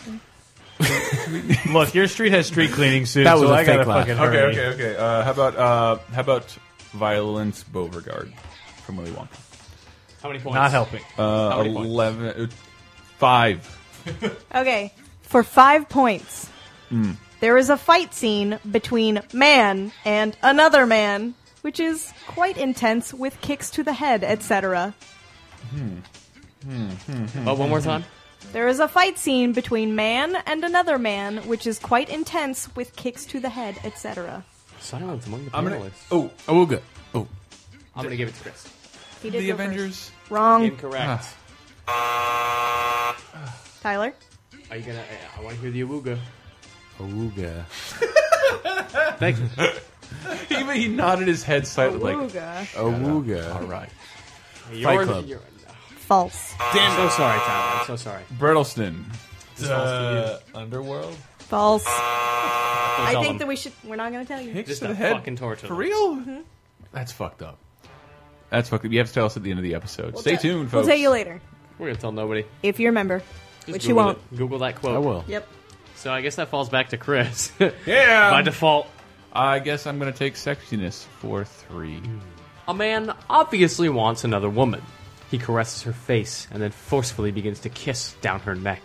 [SPEAKER 5] Look, your street has street cleaning soon,
[SPEAKER 9] That was
[SPEAKER 5] so
[SPEAKER 9] a
[SPEAKER 5] I gotta
[SPEAKER 9] fake laugh.
[SPEAKER 5] fucking
[SPEAKER 3] Okay,
[SPEAKER 5] hurry.
[SPEAKER 3] okay, okay. Uh, how about uh, how about Violence Beauregard from Willy Wonka?
[SPEAKER 4] How many points?
[SPEAKER 5] Not helping.
[SPEAKER 3] Uh,
[SPEAKER 4] many points?
[SPEAKER 3] eleven, uh, five.
[SPEAKER 6] Okay. For five points,
[SPEAKER 3] Hmm.
[SPEAKER 6] there is a fight scene between man and another man, which is quite intense with kicks to the head, etc.
[SPEAKER 4] Oh, one more time.
[SPEAKER 6] There is a fight scene between man and another man, which is quite intense with kicks to the head, etc.
[SPEAKER 4] Silence among the
[SPEAKER 3] I'm gonna.
[SPEAKER 4] panelists.
[SPEAKER 3] Oh,
[SPEAKER 9] Awuga. Oh,
[SPEAKER 4] I'm gonna give it to Chris.
[SPEAKER 6] He did
[SPEAKER 3] the
[SPEAKER 6] go
[SPEAKER 3] Avengers.
[SPEAKER 6] first. Wrong,
[SPEAKER 4] Incorrect.
[SPEAKER 3] Ah.
[SPEAKER 6] Tyler.
[SPEAKER 4] Are you gonna? I, I want to hear the awooga.
[SPEAKER 9] Awuga.
[SPEAKER 4] Thank you.
[SPEAKER 3] Even he nodded his head
[SPEAKER 6] Oh,
[SPEAKER 3] slightly, like
[SPEAKER 6] Ooga.
[SPEAKER 9] Awuga.
[SPEAKER 3] right.
[SPEAKER 4] You're-
[SPEAKER 9] Club.
[SPEAKER 4] you're-
[SPEAKER 6] False.
[SPEAKER 4] I'm so sorry, Tyler. I'm so sorry.
[SPEAKER 3] Bertelston.
[SPEAKER 4] Duh.
[SPEAKER 5] Underworld.
[SPEAKER 6] False.
[SPEAKER 4] Tell
[SPEAKER 6] I think
[SPEAKER 4] them.
[SPEAKER 6] that we should. We're not going to tell you.
[SPEAKER 3] Just
[SPEAKER 4] Just
[SPEAKER 3] to
[SPEAKER 4] a
[SPEAKER 3] the head.
[SPEAKER 4] fucking torture.
[SPEAKER 3] For real? That's fucked up. That's fucked up. You have to tell us at the end of the episode. Stay
[SPEAKER 6] We'll tell-
[SPEAKER 3] tuned,
[SPEAKER 6] We'll
[SPEAKER 3] folks.
[SPEAKER 6] tell you later
[SPEAKER 4] We're gonna tell nobody.
[SPEAKER 6] if you remember,
[SPEAKER 4] Just
[SPEAKER 6] which
[SPEAKER 4] Google
[SPEAKER 6] you won't.
[SPEAKER 4] it. Google that quote.
[SPEAKER 9] I will.
[SPEAKER 6] Yep.
[SPEAKER 4] So I guess that falls back to Chris.
[SPEAKER 3] Yeah.
[SPEAKER 4] By default.
[SPEAKER 3] I guess I'm going to take sexiness for three.
[SPEAKER 4] A man obviously wants another woman. He caresses her face and then forcefully begins to kiss down her neck.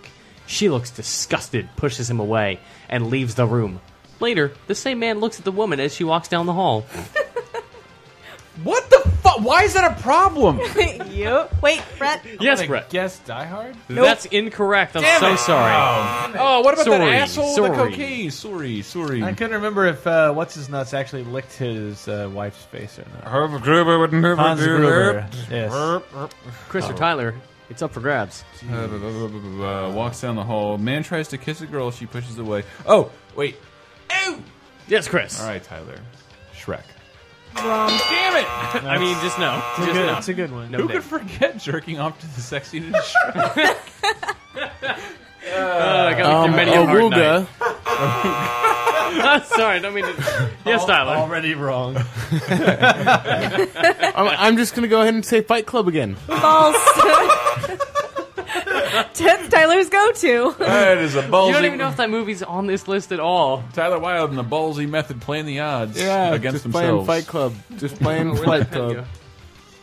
[SPEAKER 4] She looks disgusted, pushes him away, and leaves the room. Later, the same man looks at the woman as she walks down the hall.
[SPEAKER 3] What the fuck? Why is that a problem?
[SPEAKER 6] yep. Wait, Brett.
[SPEAKER 4] yes, Brett.
[SPEAKER 5] Guess Die Hard.
[SPEAKER 4] That's incorrect. I'm so sorry.
[SPEAKER 3] oh, what about that
[SPEAKER 4] Sorry,
[SPEAKER 3] asshole with the
[SPEAKER 4] sorry.
[SPEAKER 3] cocaine? Sorry, sorry.
[SPEAKER 5] I couldn't remember if uh, what's his nuts actually licked his uh, wife's face or not.
[SPEAKER 9] Hans Gruber would never
[SPEAKER 5] Hans
[SPEAKER 9] do
[SPEAKER 5] Gruber.
[SPEAKER 9] that.
[SPEAKER 5] Yes.
[SPEAKER 4] Chris or Tyler, it's up for grabs.
[SPEAKER 3] Uh, blah, blah, blah, blah, blah, blah. walks down the hall. Man tries to kiss a girl. She pushes away. Oh, wait. Ew!
[SPEAKER 4] Yes, Chris.
[SPEAKER 3] All right, Tyler. Shrek.
[SPEAKER 4] Damn it! I mean, just no. Just no.
[SPEAKER 5] It's a good one.
[SPEAKER 4] No
[SPEAKER 3] Who could
[SPEAKER 4] dig.
[SPEAKER 3] forget jerking off to the sexiness of Shrek?
[SPEAKER 4] Uh, I got
[SPEAKER 9] Um,
[SPEAKER 4] through many a hard
[SPEAKER 9] Awuga.
[SPEAKER 4] night. sorry, don't mean to. Yes, Tyler.
[SPEAKER 5] Already wrong.
[SPEAKER 9] I'm, I'm just gonna go ahead and say Fight Club again.
[SPEAKER 6] False. That's Tyler's go-to.
[SPEAKER 3] that is a ballsy.
[SPEAKER 4] You don't even know if that movie's on this list at all.
[SPEAKER 3] Tyler Wilde and the ballsy method playing the odds against
[SPEAKER 9] just
[SPEAKER 3] themselves.
[SPEAKER 9] playing Fight Club. Just playing Fight Club.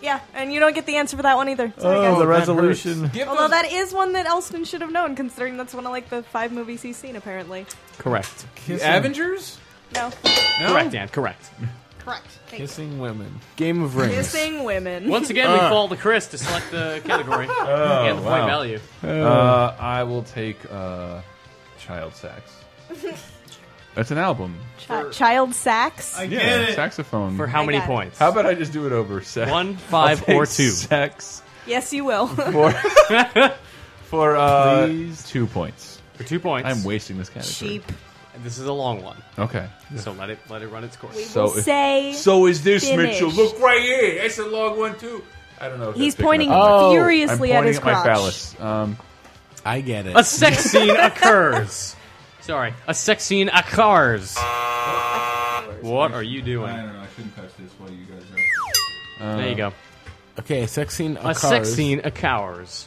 [SPEAKER 6] yeah, and you don't get the answer for that one either. So
[SPEAKER 3] Oh,
[SPEAKER 6] I
[SPEAKER 9] Oh,
[SPEAKER 6] guess-
[SPEAKER 5] the
[SPEAKER 9] resolution.
[SPEAKER 5] resolution.
[SPEAKER 6] Although that is one that Elston should have known, considering that's one of like the five movies he's seen. Apparently,
[SPEAKER 4] Correct.
[SPEAKER 3] The Avengers?
[SPEAKER 6] no.
[SPEAKER 4] Correct, Dan. Correct.
[SPEAKER 6] Correct. Thank you.
[SPEAKER 5] Kissing women.
[SPEAKER 9] Game of Rings.
[SPEAKER 6] Kissing women.
[SPEAKER 4] Once again, we fall to Chris to select the category and the point
[SPEAKER 3] Uh. Oh, wow.
[SPEAKER 4] value.
[SPEAKER 3] Uh, I will take uh, Child Sax. That's an album.
[SPEAKER 6] Chi- child sax.
[SPEAKER 3] Yeah, saxophone.
[SPEAKER 4] For how
[SPEAKER 6] I
[SPEAKER 4] many
[SPEAKER 6] got it.
[SPEAKER 4] points?
[SPEAKER 3] How about I just do it over sex?
[SPEAKER 4] One, five,
[SPEAKER 3] I'll take
[SPEAKER 4] or two?
[SPEAKER 3] Sex
[SPEAKER 6] yes, you will.
[SPEAKER 3] for for uh, two points.
[SPEAKER 4] For two points.
[SPEAKER 3] I'm wasting this category.
[SPEAKER 6] Cheap.
[SPEAKER 4] This is a long one,
[SPEAKER 3] Okay.
[SPEAKER 4] so let it let it run its course.
[SPEAKER 3] So if-
[SPEAKER 6] Say
[SPEAKER 3] Oh, so is this
[SPEAKER 6] Finished.
[SPEAKER 3] Mitchell? Look right here. That's a long one too. I don't know. If
[SPEAKER 6] he's
[SPEAKER 3] that's picking
[SPEAKER 6] pointing
[SPEAKER 3] up.
[SPEAKER 9] Oh,
[SPEAKER 3] I'm
[SPEAKER 6] furiously at
[SPEAKER 3] pointing
[SPEAKER 6] his
[SPEAKER 3] at my
[SPEAKER 6] crotch.
[SPEAKER 3] phallus. Um,
[SPEAKER 9] I get it.
[SPEAKER 4] A sex scene occurs. Sorry, a sex scene occurs. What are you doing?
[SPEAKER 3] don't know. I shouldn't touch this while you guys
[SPEAKER 4] There you go.
[SPEAKER 9] Okay, a sex scene.
[SPEAKER 4] A sex scene occurs.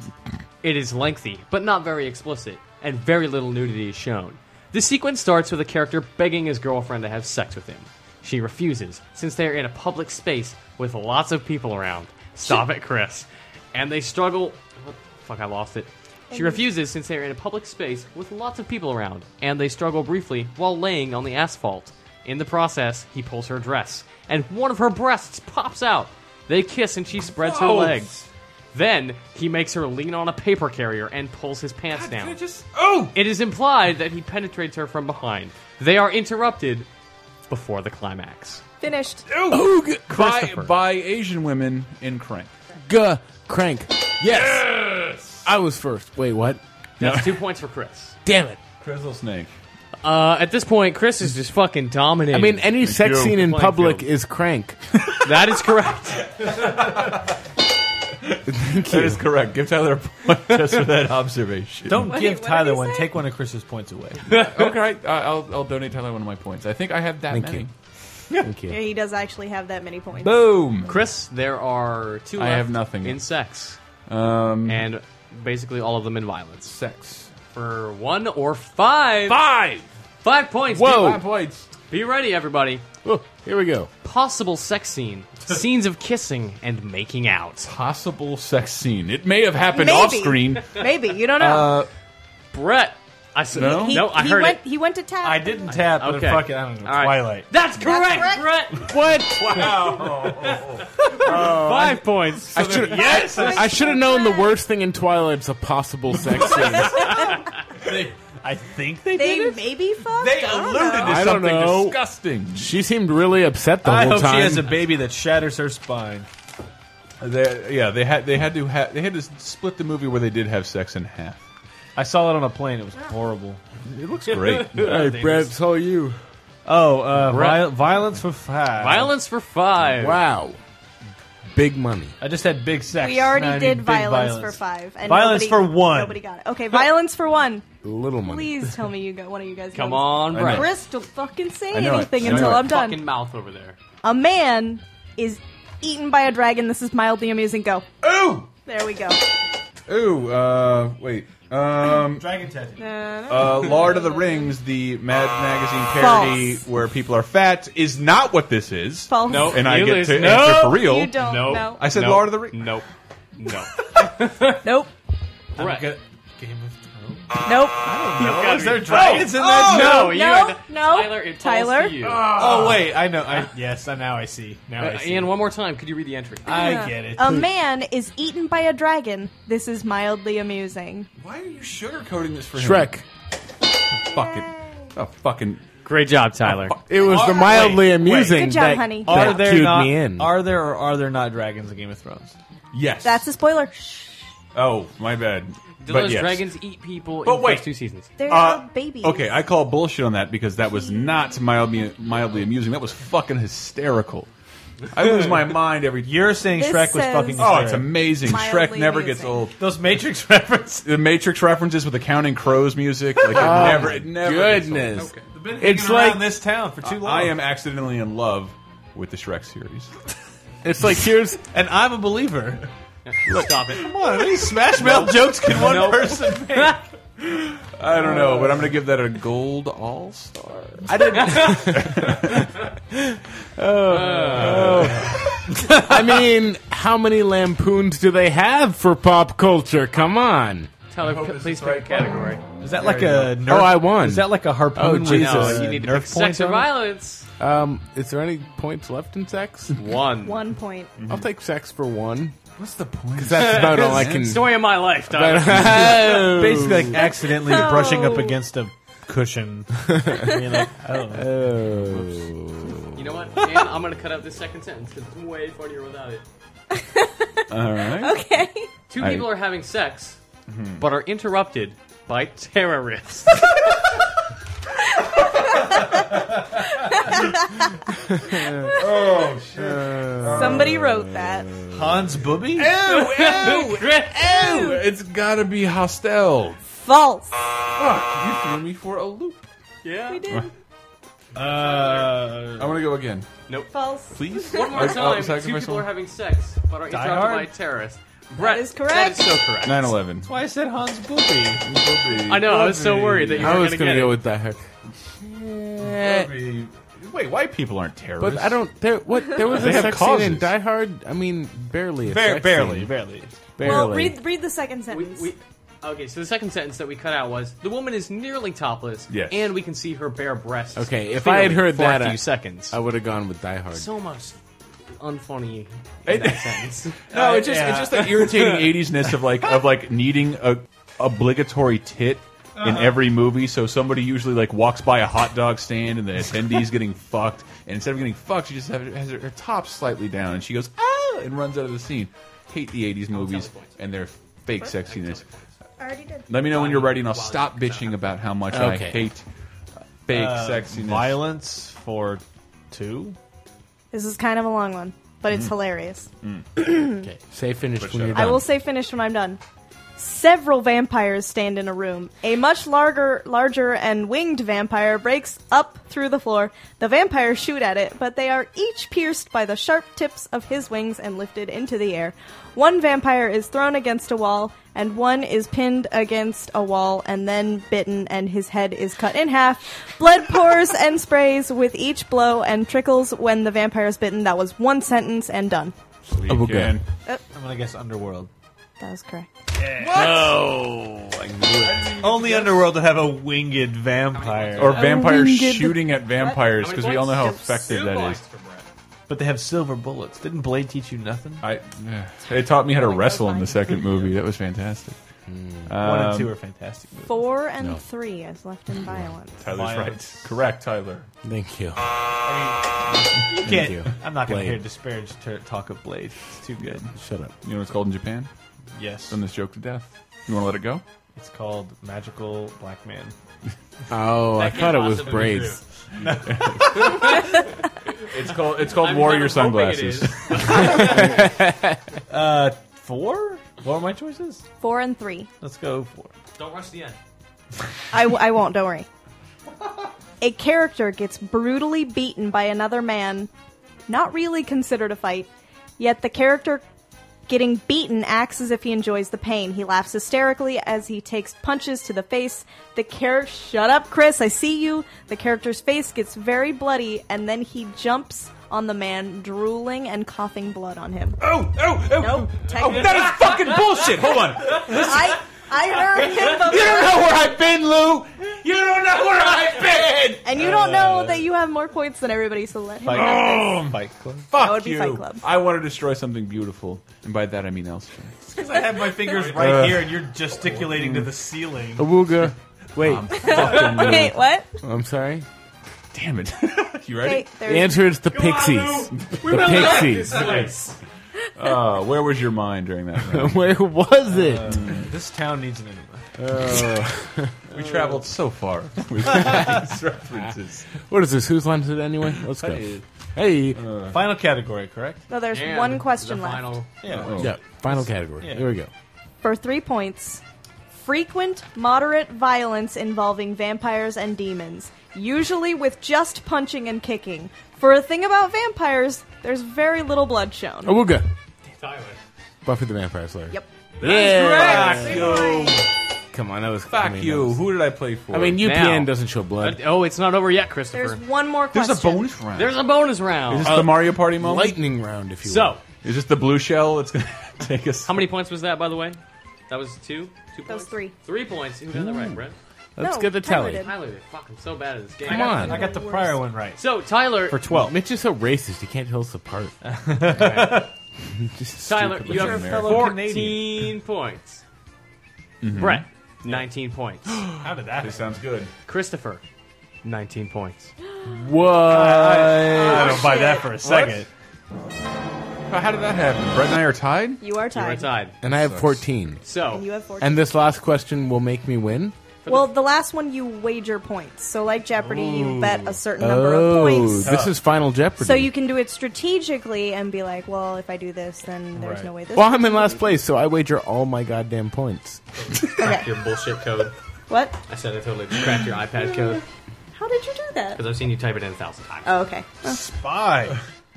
[SPEAKER 4] It is lengthy, but not very explicit, and very little nudity is shown. The sequence starts with a character begging his girlfriend to have sex with him. She refuses, since they are in a public space with lots of people around. Stop it, Chris. And they struggle. what- Fuck, I lost it. She refuses since they are in a public space with lots of people around, and they struggle briefly while laying on the asphalt. In the process, he pulls her dress, and one of her breasts pops out. They kiss, and she spreads her
[SPEAKER 9] Oh,
[SPEAKER 3] Gross.
[SPEAKER 4] legs. Then he makes her lean on a paper carrier and pulls his pants down.
[SPEAKER 3] go. Just oh.
[SPEAKER 4] It is implied that he penetrates her from behind. They are interrupted before the climax.
[SPEAKER 6] finished.
[SPEAKER 3] by,
[SPEAKER 4] Christopher.
[SPEAKER 3] by Asian women in Crank.
[SPEAKER 9] G crank. Yes. I was first. Wait, what?
[SPEAKER 4] That's two points for Chris.
[SPEAKER 9] Damn it.
[SPEAKER 3] Crystal Snake.
[SPEAKER 4] Uh, at this point, Chris is just fucking
[SPEAKER 9] I
[SPEAKER 4] dominating.
[SPEAKER 9] mean, any sex
[SPEAKER 3] you.
[SPEAKER 9] scene in
[SPEAKER 4] Playing
[SPEAKER 9] public
[SPEAKER 4] field.
[SPEAKER 9] is crank.
[SPEAKER 4] that is correct.
[SPEAKER 3] That is correct. Give Tyler a point just for that observation.
[SPEAKER 5] Don't
[SPEAKER 6] Wait,
[SPEAKER 5] give
[SPEAKER 6] what did
[SPEAKER 5] Tyler
[SPEAKER 6] he
[SPEAKER 5] one.
[SPEAKER 6] say?
[SPEAKER 5] Take one of Chris's points away.
[SPEAKER 3] okay, right, I- I'll, I'll donate Tyler one of my points. I think I have that
[SPEAKER 9] Thank
[SPEAKER 3] many.
[SPEAKER 9] you. Thank
[SPEAKER 6] Yeah,
[SPEAKER 9] you.
[SPEAKER 6] he does actually have that many points.
[SPEAKER 3] Boom.
[SPEAKER 4] Chris, there are two.
[SPEAKER 3] I
[SPEAKER 4] left
[SPEAKER 3] have nothing.
[SPEAKER 4] in sex,
[SPEAKER 3] Um,
[SPEAKER 4] and basically all of them in violence.
[SPEAKER 3] sex.
[SPEAKER 4] For one or five,
[SPEAKER 3] Five.
[SPEAKER 4] five points.
[SPEAKER 9] Whoa.
[SPEAKER 3] Five points.
[SPEAKER 4] be ready, everybody.
[SPEAKER 9] Oh, here we go.
[SPEAKER 4] Possible sex scene, scenes of kissing and making out.
[SPEAKER 3] Possible sex scene. It may have happened
[SPEAKER 6] Maybe.
[SPEAKER 3] off screen.
[SPEAKER 6] Maybe you don't
[SPEAKER 3] Uh,
[SPEAKER 6] know.
[SPEAKER 4] Brett, I said
[SPEAKER 3] No?
[SPEAKER 6] he,
[SPEAKER 4] no. I
[SPEAKER 6] he
[SPEAKER 4] heard
[SPEAKER 6] went.
[SPEAKER 4] it.
[SPEAKER 6] He went to tap.
[SPEAKER 5] I didn't tap, but
[SPEAKER 4] Okay.
[SPEAKER 5] fuck it. I don't know.
[SPEAKER 4] All right.
[SPEAKER 5] Twilight.
[SPEAKER 4] That's correct,
[SPEAKER 6] That's
[SPEAKER 4] Brett. What? Wow. Five points.
[SPEAKER 9] I should yes. I should have known the worst thing in Twilight's a possible sex scene.
[SPEAKER 5] I think they,
[SPEAKER 6] They
[SPEAKER 5] did. it.
[SPEAKER 6] maybe fucked.
[SPEAKER 5] They
[SPEAKER 6] I don't
[SPEAKER 5] alluded
[SPEAKER 6] know.
[SPEAKER 5] to
[SPEAKER 9] I don't
[SPEAKER 5] something
[SPEAKER 3] Oh.
[SPEAKER 9] know.
[SPEAKER 5] disgusting.
[SPEAKER 9] She seemed really upset the
[SPEAKER 5] I
[SPEAKER 9] whole
[SPEAKER 5] hope
[SPEAKER 9] time.
[SPEAKER 5] she has a baby that shatters her spine.
[SPEAKER 3] They, yeah, they had they had to ha they had to split the movie where they did have sex in half.
[SPEAKER 5] I saw it on a plane. It was horrible.
[SPEAKER 3] It looks great.
[SPEAKER 9] hey, Brett, how are you?
[SPEAKER 5] Oh, uh,
[SPEAKER 4] Brett.
[SPEAKER 5] viol- violence for five.
[SPEAKER 4] Violence for five.
[SPEAKER 9] Wow, big money.
[SPEAKER 5] I just had big sex.
[SPEAKER 6] We already
[SPEAKER 5] Now I need
[SPEAKER 6] did
[SPEAKER 5] big
[SPEAKER 6] violence, for five. And
[SPEAKER 5] Violence
[SPEAKER 6] nobody-
[SPEAKER 5] for one.
[SPEAKER 6] Nobody got it. Okay, violence for one.
[SPEAKER 9] Little money.
[SPEAKER 6] Please tell me you got one of you guys.
[SPEAKER 4] Come
[SPEAKER 6] knows.
[SPEAKER 4] on, Brett.
[SPEAKER 6] Chris, don't fucking say
[SPEAKER 9] know it.
[SPEAKER 6] anything
[SPEAKER 9] I know
[SPEAKER 6] until
[SPEAKER 9] it.
[SPEAKER 6] I'm done.
[SPEAKER 4] Fucking mouth over there.
[SPEAKER 6] A man is eaten by a dragon. This is mildly amusing. Go.
[SPEAKER 3] Ooh,
[SPEAKER 6] There we go.
[SPEAKER 3] ooh. Uh, wait. Um,
[SPEAKER 5] Dragon tattoo.
[SPEAKER 3] uh, Lord of the Rings, the Mad Magazine parody
[SPEAKER 6] False.
[SPEAKER 3] where people are fat, is not what this is.
[SPEAKER 6] False.
[SPEAKER 4] No,
[SPEAKER 3] And I
[SPEAKER 4] you
[SPEAKER 3] get
[SPEAKER 4] lose.
[SPEAKER 3] to
[SPEAKER 4] no,
[SPEAKER 3] answer for real.
[SPEAKER 6] You don't
[SPEAKER 4] No.
[SPEAKER 6] know.
[SPEAKER 3] I said
[SPEAKER 4] no,
[SPEAKER 3] Lord of the Rings.
[SPEAKER 4] Nope. No.
[SPEAKER 6] Nope.
[SPEAKER 4] Brett.
[SPEAKER 5] Game of Thrones.
[SPEAKER 6] Nope.
[SPEAKER 5] is there dragons in that?
[SPEAKER 4] No, you
[SPEAKER 6] no,
[SPEAKER 4] had-
[SPEAKER 6] no.
[SPEAKER 4] Tyler, it falls
[SPEAKER 6] Tyler?
[SPEAKER 4] to you.
[SPEAKER 5] Oh wait, I know. I, yes, I, now I see. Now I
[SPEAKER 4] Uh,
[SPEAKER 5] see.
[SPEAKER 4] Ian, one more time. Could you read the entry?
[SPEAKER 5] I get it.
[SPEAKER 6] A man is eaten by a dragon. This is mildly amusing.
[SPEAKER 3] Why are you sugarcoating this for
[SPEAKER 9] Shrek.
[SPEAKER 3] him? Fucking. Oh, fucking.
[SPEAKER 4] Great job, Tyler.
[SPEAKER 9] It was the
[SPEAKER 5] Wait,
[SPEAKER 9] mildly
[SPEAKER 5] wait.
[SPEAKER 9] amusing
[SPEAKER 6] Good job,
[SPEAKER 9] that,
[SPEAKER 6] honey.
[SPEAKER 9] that
[SPEAKER 5] are there
[SPEAKER 9] cued
[SPEAKER 5] not?
[SPEAKER 9] me in.
[SPEAKER 5] Are there or are there not dragons in Game of Thrones?
[SPEAKER 3] Yes.
[SPEAKER 6] That's a spoiler.
[SPEAKER 3] Oh, my bad.
[SPEAKER 4] Do
[SPEAKER 3] But
[SPEAKER 4] those
[SPEAKER 3] yes.
[SPEAKER 4] dragons eat people
[SPEAKER 3] But
[SPEAKER 4] in the
[SPEAKER 3] wait.
[SPEAKER 4] first two seasons?
[SPEAKER 6] They're
[SPEAKER 3] Uh,
[SPEAKER 6] babies.
[SPEAKER 3] Okay, I call bullshit on that because that was not mildly mildly amusing. That was fucking hysterical. I lose my mind every year.
[SPEAKER 5] You're saying
[SPEAKER 6] This
[SPEAKER 5] Shrek was
[SPEAKER 6] says-
[SPEAKER 5] fucking.
[SPEAKER 3] Oh, it's
[SPEAKER 5] hysterical.
[SPEAKER 3] amazing. Shrek
[SPEAKER 6] Mildly
[SPEAKER 3] never gets
[SPEAKER 6] amusing.
[SPEAKER 3] old.
[SPEAKER 5] Those Matrix references.
[SPEAKER 3] The Matrix references with the Counting Crows music, like it never, it never. gets old.
[SPEAKER 9] Goodness.
[SPEAKER 5] It's
[SPEAKER 9] hanging around
[SPEAKER 5] like this town for too long.
[SPEAKER 3] I am accidentally in love with the Shrek series.
[SPEAKER 9] It's like here's
[SPEAKER 5] and I'm a believer.
[SPEAKER 4] Stop it.
[SPEAKER 5] Come on, how many Smash Mouth jokes can one
[SPEAKER 3] Nope.
[SPEAKER 5] person make?
[SPEAKER 3] I don't know, but I'm gonna give that a gold all star.
[SPEAKER 9] I didn't. oh, I mean, how many lampoons do they have for pop culture? Come on.
[SPEAKER 4] Tyler, p- please pick a category.
[SPEAKER 5] Is that like a nerf?
[SPEAKER 9] Oh, I won.
[SPEAKER 5] Is that like a harpoon?
[SPEAKER 9] Oh,
[SPEAKER 5] with,
[SPEAKER 9] Jesus.
[SPEAKER 5] uh,
[SPEAKER 4] No, you need to
[SPEAKER 5] nerf
[SPEAKER 4] pick sex
[SPEAKER 5] points
[SPEAKER 4] or
[SPEAKER 5] on it?
[SPEAKER 4] violence.
[SPEAKER 9] Um, is there any points left in sex?
[SPEAKER 4] One.
[SPEAKER 6] One point.
[SPEAKER 9] I'll take sex for one.
[SPEAKER 5] What's the point?
[SPEAKER 9] Because that's about all I can.
[SPEAKER 4] Story of my life, Tyler.
[SPEAKER 9] Oh.
[SPEAKER 5] Basically, like accidentally
[SPEAKER 6] No.
[SPEAKER 5] brushing up against a cushion. I mean, like, I don't know.
[SPEAKER 4] you know what? Dan, I'm going to cut out this second sentence because it's way funnier without it.
[SPEAKER 3] All right.
[SPEAKER 6] Okay.
[SPEAKER 4] Two
[SPEAKER 3] I-
[SPEAKER 4] people are having sex, but are interrupted by terrorists.
[SPEAKER 6] Somebody wrote that.
[SPEAKER 5] Hans Booby.
[SPEAKER 4] Oh, Chris,
[SPEAKER 3] It's gotta be hostile.
[SPEAKER 6] False.
[SPEAKER 3] Fuck, you threw me for a loop.
[SPEAKER 4] Yeah.
[SPEAKER 6] We did.
[SPEAKER 5] Uh,
[SPEAKER 3] I'm gonna go again.
[SPEAKER 6] False.
[SPEAKER 3] Please?
[SPEAKER 4] One more
[SPEAKER 3] I'll- I'll
[SPEAKER 4] time.
[SPEAKER 3] sacrifice
[SPEAKER 4] Two people
[SPEAKER 3] one.
[SPEAKER 4] are having sex, but are interrupted
[SPEAKER 5] Hard?
[SPEAKER 4] by terrorists. Brett
[SPEAKER 6] is correct.
[SPEAKER 4] That is so correct.
[SPEAKER 3] 9-11.
[SPEAKER 5] why I said Hans Booby.
[SPEAKER 4] I know. I was so worried that you
[SPEAKER 9] I
[SPEAKER 4] were
[SPEAKER 9] was
[SPEAKER 4] going to
[SPEAKER 9] gonna
[SPEAKER 4] get
[SPEAKER 9] go
[SPEAKER 4] it.
[SPEAKER 9] with that.
[SPEAKER 3] Wait, white people aren't terrorists.
[SPEAKER 9] But I don't. There, what there was a
[SPEAKER 3] have
[SPEAKER 9] sex scene in
[SPEAKER 3] causes.
[SPEAKER 9] Die Hard. I mean, barely. A
[SPEAKER 5] Barely,
[SPEAKER 9] sex
[SPEAKER 5] barely,
[SPEAKER 9] scene.
[SPEAKER 5] barely.
[SPEAKER 9] barely.
[SPEAKER 6] Well, read read the second
[SPEAKER 4] We,
[SPEAKER 6] sentence.
[SPEAKER 4] we, okay, so the second sentence that we cut out was the woman is nearly topless,
[SPEAKER 3] Yes.
[SPEAKER 4] and we can see her bare breasts.
[SPEAKER 9] Okay, if I had
[SPEAKER 4] clearly
[SPEAKER 9] heard
[SPEAKER 4] for
[SPEAKER 9] that,
[SPEAKER 4] a few
[SPEAKER 9] I-
[SPEAKER 4] seconds,
[SPEAKER 9] I would have gone with Die Hard.
[SPEAKER 4] so much unfunny in that sentence.
[SPEAKER 3] No, it's just
[SPEAKER 5] yeah.
[SPEAKER 3] it's just the irritating '80s-ness of like of like needing a obligatory tit in every movie. So somebody usually like walks by a hot dog stand and the attendees getting fucked, and instead of getting fucked, she just have, has her, her top slightly down and she goes ah and runs out of the scene. Hate the '80s movies and their fake sexiness.
[SPEAKER 6] I already did.
[SPEAKER 3] Let me know when you're ready, and I'll stop bitching about how much I
[SPEAKER 9] Okay.
[SPEAKER 3] hate fake sexiness.
[SPEAKER 5] Violence for two.
[SPEAKER 6] This is kind of a long one, but
[SPEAKER 3] Mm-hmm.
[SPEAKER 6] it's hilarious.
[SPEAKER 9] Okay, say finish when you're
[SPEAKER 6] I
[SPEAKER 9] done.
[SPEAKER 6] will say finish when I'm done. Several vampires stand in a room. A much larger, larger and winged vampire breaks up through the floor. The vampires shoot at it, but they are each pierced by the sharp tips of his wings and lifted into the air. One vampire is thrown against a wall, and one is pinned against a wall and then bitten, and his head is cut in half. Blood pours and sprays with each blow and trickles when the vampire is bitten. That was one sentence and done.
[SPEAKER 9] I
[SPEAKER 5] Oh,
[SPEAKER 9] will go.
[SPEAKER 5] I'm gonna guess Underworld.
[SPEAKER 6] That was correct.
[SPEAKER 5] Only Underworld to have a winged vampire,
[SPEAKER 3] Or vampires
[SPEAKER 6] winged-
[SPEAKER 3] shooting at vampires because we all know how effective
[SPEAKER 4] Two
[SPEAKER 3] that
[SPEAKER 4] points
[SPEAKER 3] is.
[SPEAKER 4] for Brett.
[SPEAKER 5] but they have silver bullets. Didn't Blade teach you nothing?
[SPEAKER 3] I, eh, they taught me how to wrestle in the second movie. That was fantastic.
[SPEAKER 5] One and two are fantastic movies.
[SPEAKER 6] Four and three as left in violence.
[SPEAKER 3] Tyler's right.
[SPEAKER 5] Violence.
[SPEAKER 3] Correct, Tyler.
[SPEAKER 9] Thank you.
[SPEAKER 5] You can't.
[SPEAKER 9] you.
[SPEAKER 5] I'm not going to
[SPEAKER 9] Blade.
[SPEAKER 5] hear disparage ter- talk of Blade. It's too good.
[SPEAKER 9] Shut up.
[SPEAKER 3] You know what it's called in Japan?
[SPEAKER 5] Yes.
[SPEAKER 3] Done this joke to death. You want to let it go?
[SPEAKER 5] It's called Magical Black Man.
[SPEAKER 9] Oh, I
[SPEAKER 4] can't
[SPEAKER 9] thought it was
[SPEAKER 4] possibly be
[SPEAKER 9] braids.
[SPEAKER 3] It's called it's called
[SPEAKER 4] I'm
[SPEAKER 3] Warrior
[SPEAKER 4] kind of hoping it
[SPEAKER 3] Sunglasses.
[SPEAKER 4] is.
[SPEAKER 5] Four? What are my choices?
[SPEAKER 6] Four and three.
[SPEAKER 5] Let's go four.
[SPEAKER 4] Don't rush the end.
[SPEAKER 6] I, w- I won't, don't worry. A character gets brutally beaten by another man, not really considered a fight, yet the character getting beaten acts as if he enjoys the pain. He laughs hysterically as he takes punches to the face. The character. Shut up, Chris, I see you. The character's face gets very bloody, and then he jumps on the man, drooling and coughing blood on him.
[SPEAKER 5] Oh, oh, oh.
[SPEAKER 6] Nope, technically.
[SPEAKER 5] that is fucking bullshit. Hold on.
[SPEAKER 6] I, I heard him the
[SPEAKER 5] You don't know where I've been, Lou. You don't know where I've been.
[SPEAKER 6] And you don't know that you have more points than everybody, so let him
[SPEAKER 3] Fight
[SPEAKER 6] have this.
[SPEAKER 5] Fight Club.
[SPEAKER 3] Fuck
[SPEAKER 6] would be
[SPEAKER 3] you.
[SPEAKER 6] Fight Club.
[SPEAKER 3] I want to destroy something beautiful, and by that I mean elsewhere.
[SPEAKER 5] I have my fingers right here, and you're gesticulating to the ceiling. Um,
[SPEAKER 9] Awooga. Wait,
[SPEAKER 6] Wait, what?
[SPEAKER 9] I'm sorry.
[SPEAKER 3] Damn it! you ready?
[SPEAKER 6] Wait,
[SPEAKER 9] The
[SPEAKER 6] there's
[SPEAKER 9] answer is the pixies. the pixies.
[SPEAKER 3] Uh, where was your mind during that? round?
[SPEAKER 9] Where was it?
[SPEAKER 5] This town needs an enema.
[SPEAKER 3] we traveled so far with these references.
[SPEAKER 9] what is this? Whose line is it anyway? Let's go. Hey.
[SPEAKER 5] Uh, Final category, correct? Oh.
[SPEAKER 6] no, there's one question
[SPEAKER 4] the
[SPEAKER 6] left.
[SPEAKER 4] Final.
[SPEAKER 5] Yeah.
[SPEAKER 9] yeah, final category.
[SPEAKER 5] yeah.
[SPEAKER 9] Here we go.
[SPEAKER 6] For three points, frequent moderate violence involving vampires and demons, usually with just punching and kicking. For a thing about vampires, there's very little blood shown.
[SPEAKER 9] Awooga.
[SPEAKER 4] Tyler.
[SPEAKER 9] Buffy the Vampire Slayer.
[SPEAKER 6] Yep.
[SPEAKER 3] Yeah.
[SPEAKER 9] Come on, that was. I
[SPEAKER 3] Fuck
[SPEAKER 9] mean, that
[SPEAKER 3] you.
[SPEAKER 9] was-
[SPEAKER 3] Who did I play for?
[SPEAKER 9] I mean, UPN
[SPEAKER 4] Now.
[SPEAKER 9] doesn't show
[SPEAKER 4] Uh,
[SPEAKER 9] blood.
[SPEAKER 4] oh, it's not over yet,
[SPEAKER 6] There's
[SPEAKER 4] Christopher.
[SPEAKER 6] one more
[SPEAKER 3] there's
[SPEAKER 6] question.
[SPEAKER 3] a bonus round.
[SPEAKER 4] There's a bonus
[SPEAKER 3] Is
[SPEAKER 4] round.
[SPEAKER 5] Uh,
[SPEAKER 3] this the Mario Party moment?
[SPEAKER 9] Lightning round, if you
[SPEAKER 4] so,
[SPEAKER 3] Is this the blue shell that's going to take us?
[SPEAKER 4] how many points was that, by the way? That was two? Two
[SPEAKER 6] That was
[SPEAKER 4] points?
[SPEAKER 6] three.
[SPEAKER 4] Three points. Who got that right, Brent?
[SPEAKER 9] will. Let's
[SPEAKER 6] No,
[SPEAKER 9] get the
[SPEAKER 6] Tyler
[SPEAKER 9] tally.
[SPEAKER 6] did.
[SPEAKER 4] Tyler, you're fucking so bad at this game.
[SPEAKER 9] Come
[SPEAKER 5] I
[SPEAKER 9] on.
[SPEAKER 5] got the prior one right.
[SPEAKER 4] So, Tyler,
[SPEAKER 5] For 12.
[SPEAKER 9] Mitch is so racist. He can't tell us apart. Just
[SPEAKER 4] Tyler,
[SPEAKER 9] stupid.
[SPEAKER 4] you have
[SPEAKER 5] American.
[SPEAKER 4] 14 points.
[SPEAKER 3] Mm-hmm.
[SPEAKER 4] Brett, 19 points.
[SPEAKER 5] How did that
[SPEAKER 3] This sounds good.
[SPEAKER 4] Christopher, 19 points.
[SPEAKER 9] what?
[SPEAKER 5] I don't buy that for a second.
[SPEAKER 3] How did that happen? Brett and I are tied.
[SPEAKER 6] You are
[SPEAKER 4] You are
[SPEAKER 6] tied.
[SPEAKER 4] tied.
[SPEAKER 9] and I have fourteen.
[SPEAKER 6] And you
[SPEAKER 4] So,
[SPEAKER 6] have four.
[SPEAKER 9] And this last question will make me win.
[SPEAKER 6] well, the last one you wager points. So, like Jeopardy, you bet a certain number of
[SPEAKER 9] Oh,
[SPEAKER 6] points.
[SPEAKER 9] this is Final Jeopardy.
[SPEAKER 6] So you can do it strategically and be like, well, if I do this, then there's
[SPEAKER 5] Right.
[SPEAKER 6] no way this.
[SPEAKER 9] Well, I'm in last place, so I wager all my goddamn points.
[SPEAKER 6] Okay.
[SPEAKER 4] your bullshit code.
[SPEAKER 6] What?
[SPEAKER 4] I said I totally cracked your iPad code
[SPEAKER 6] How did you do that?
[SPEAKER 4] because I've seen you type it in a thousand times.
[SPEAKER 6] Oh, okay. Well,
[SPEAKER 5] Bye.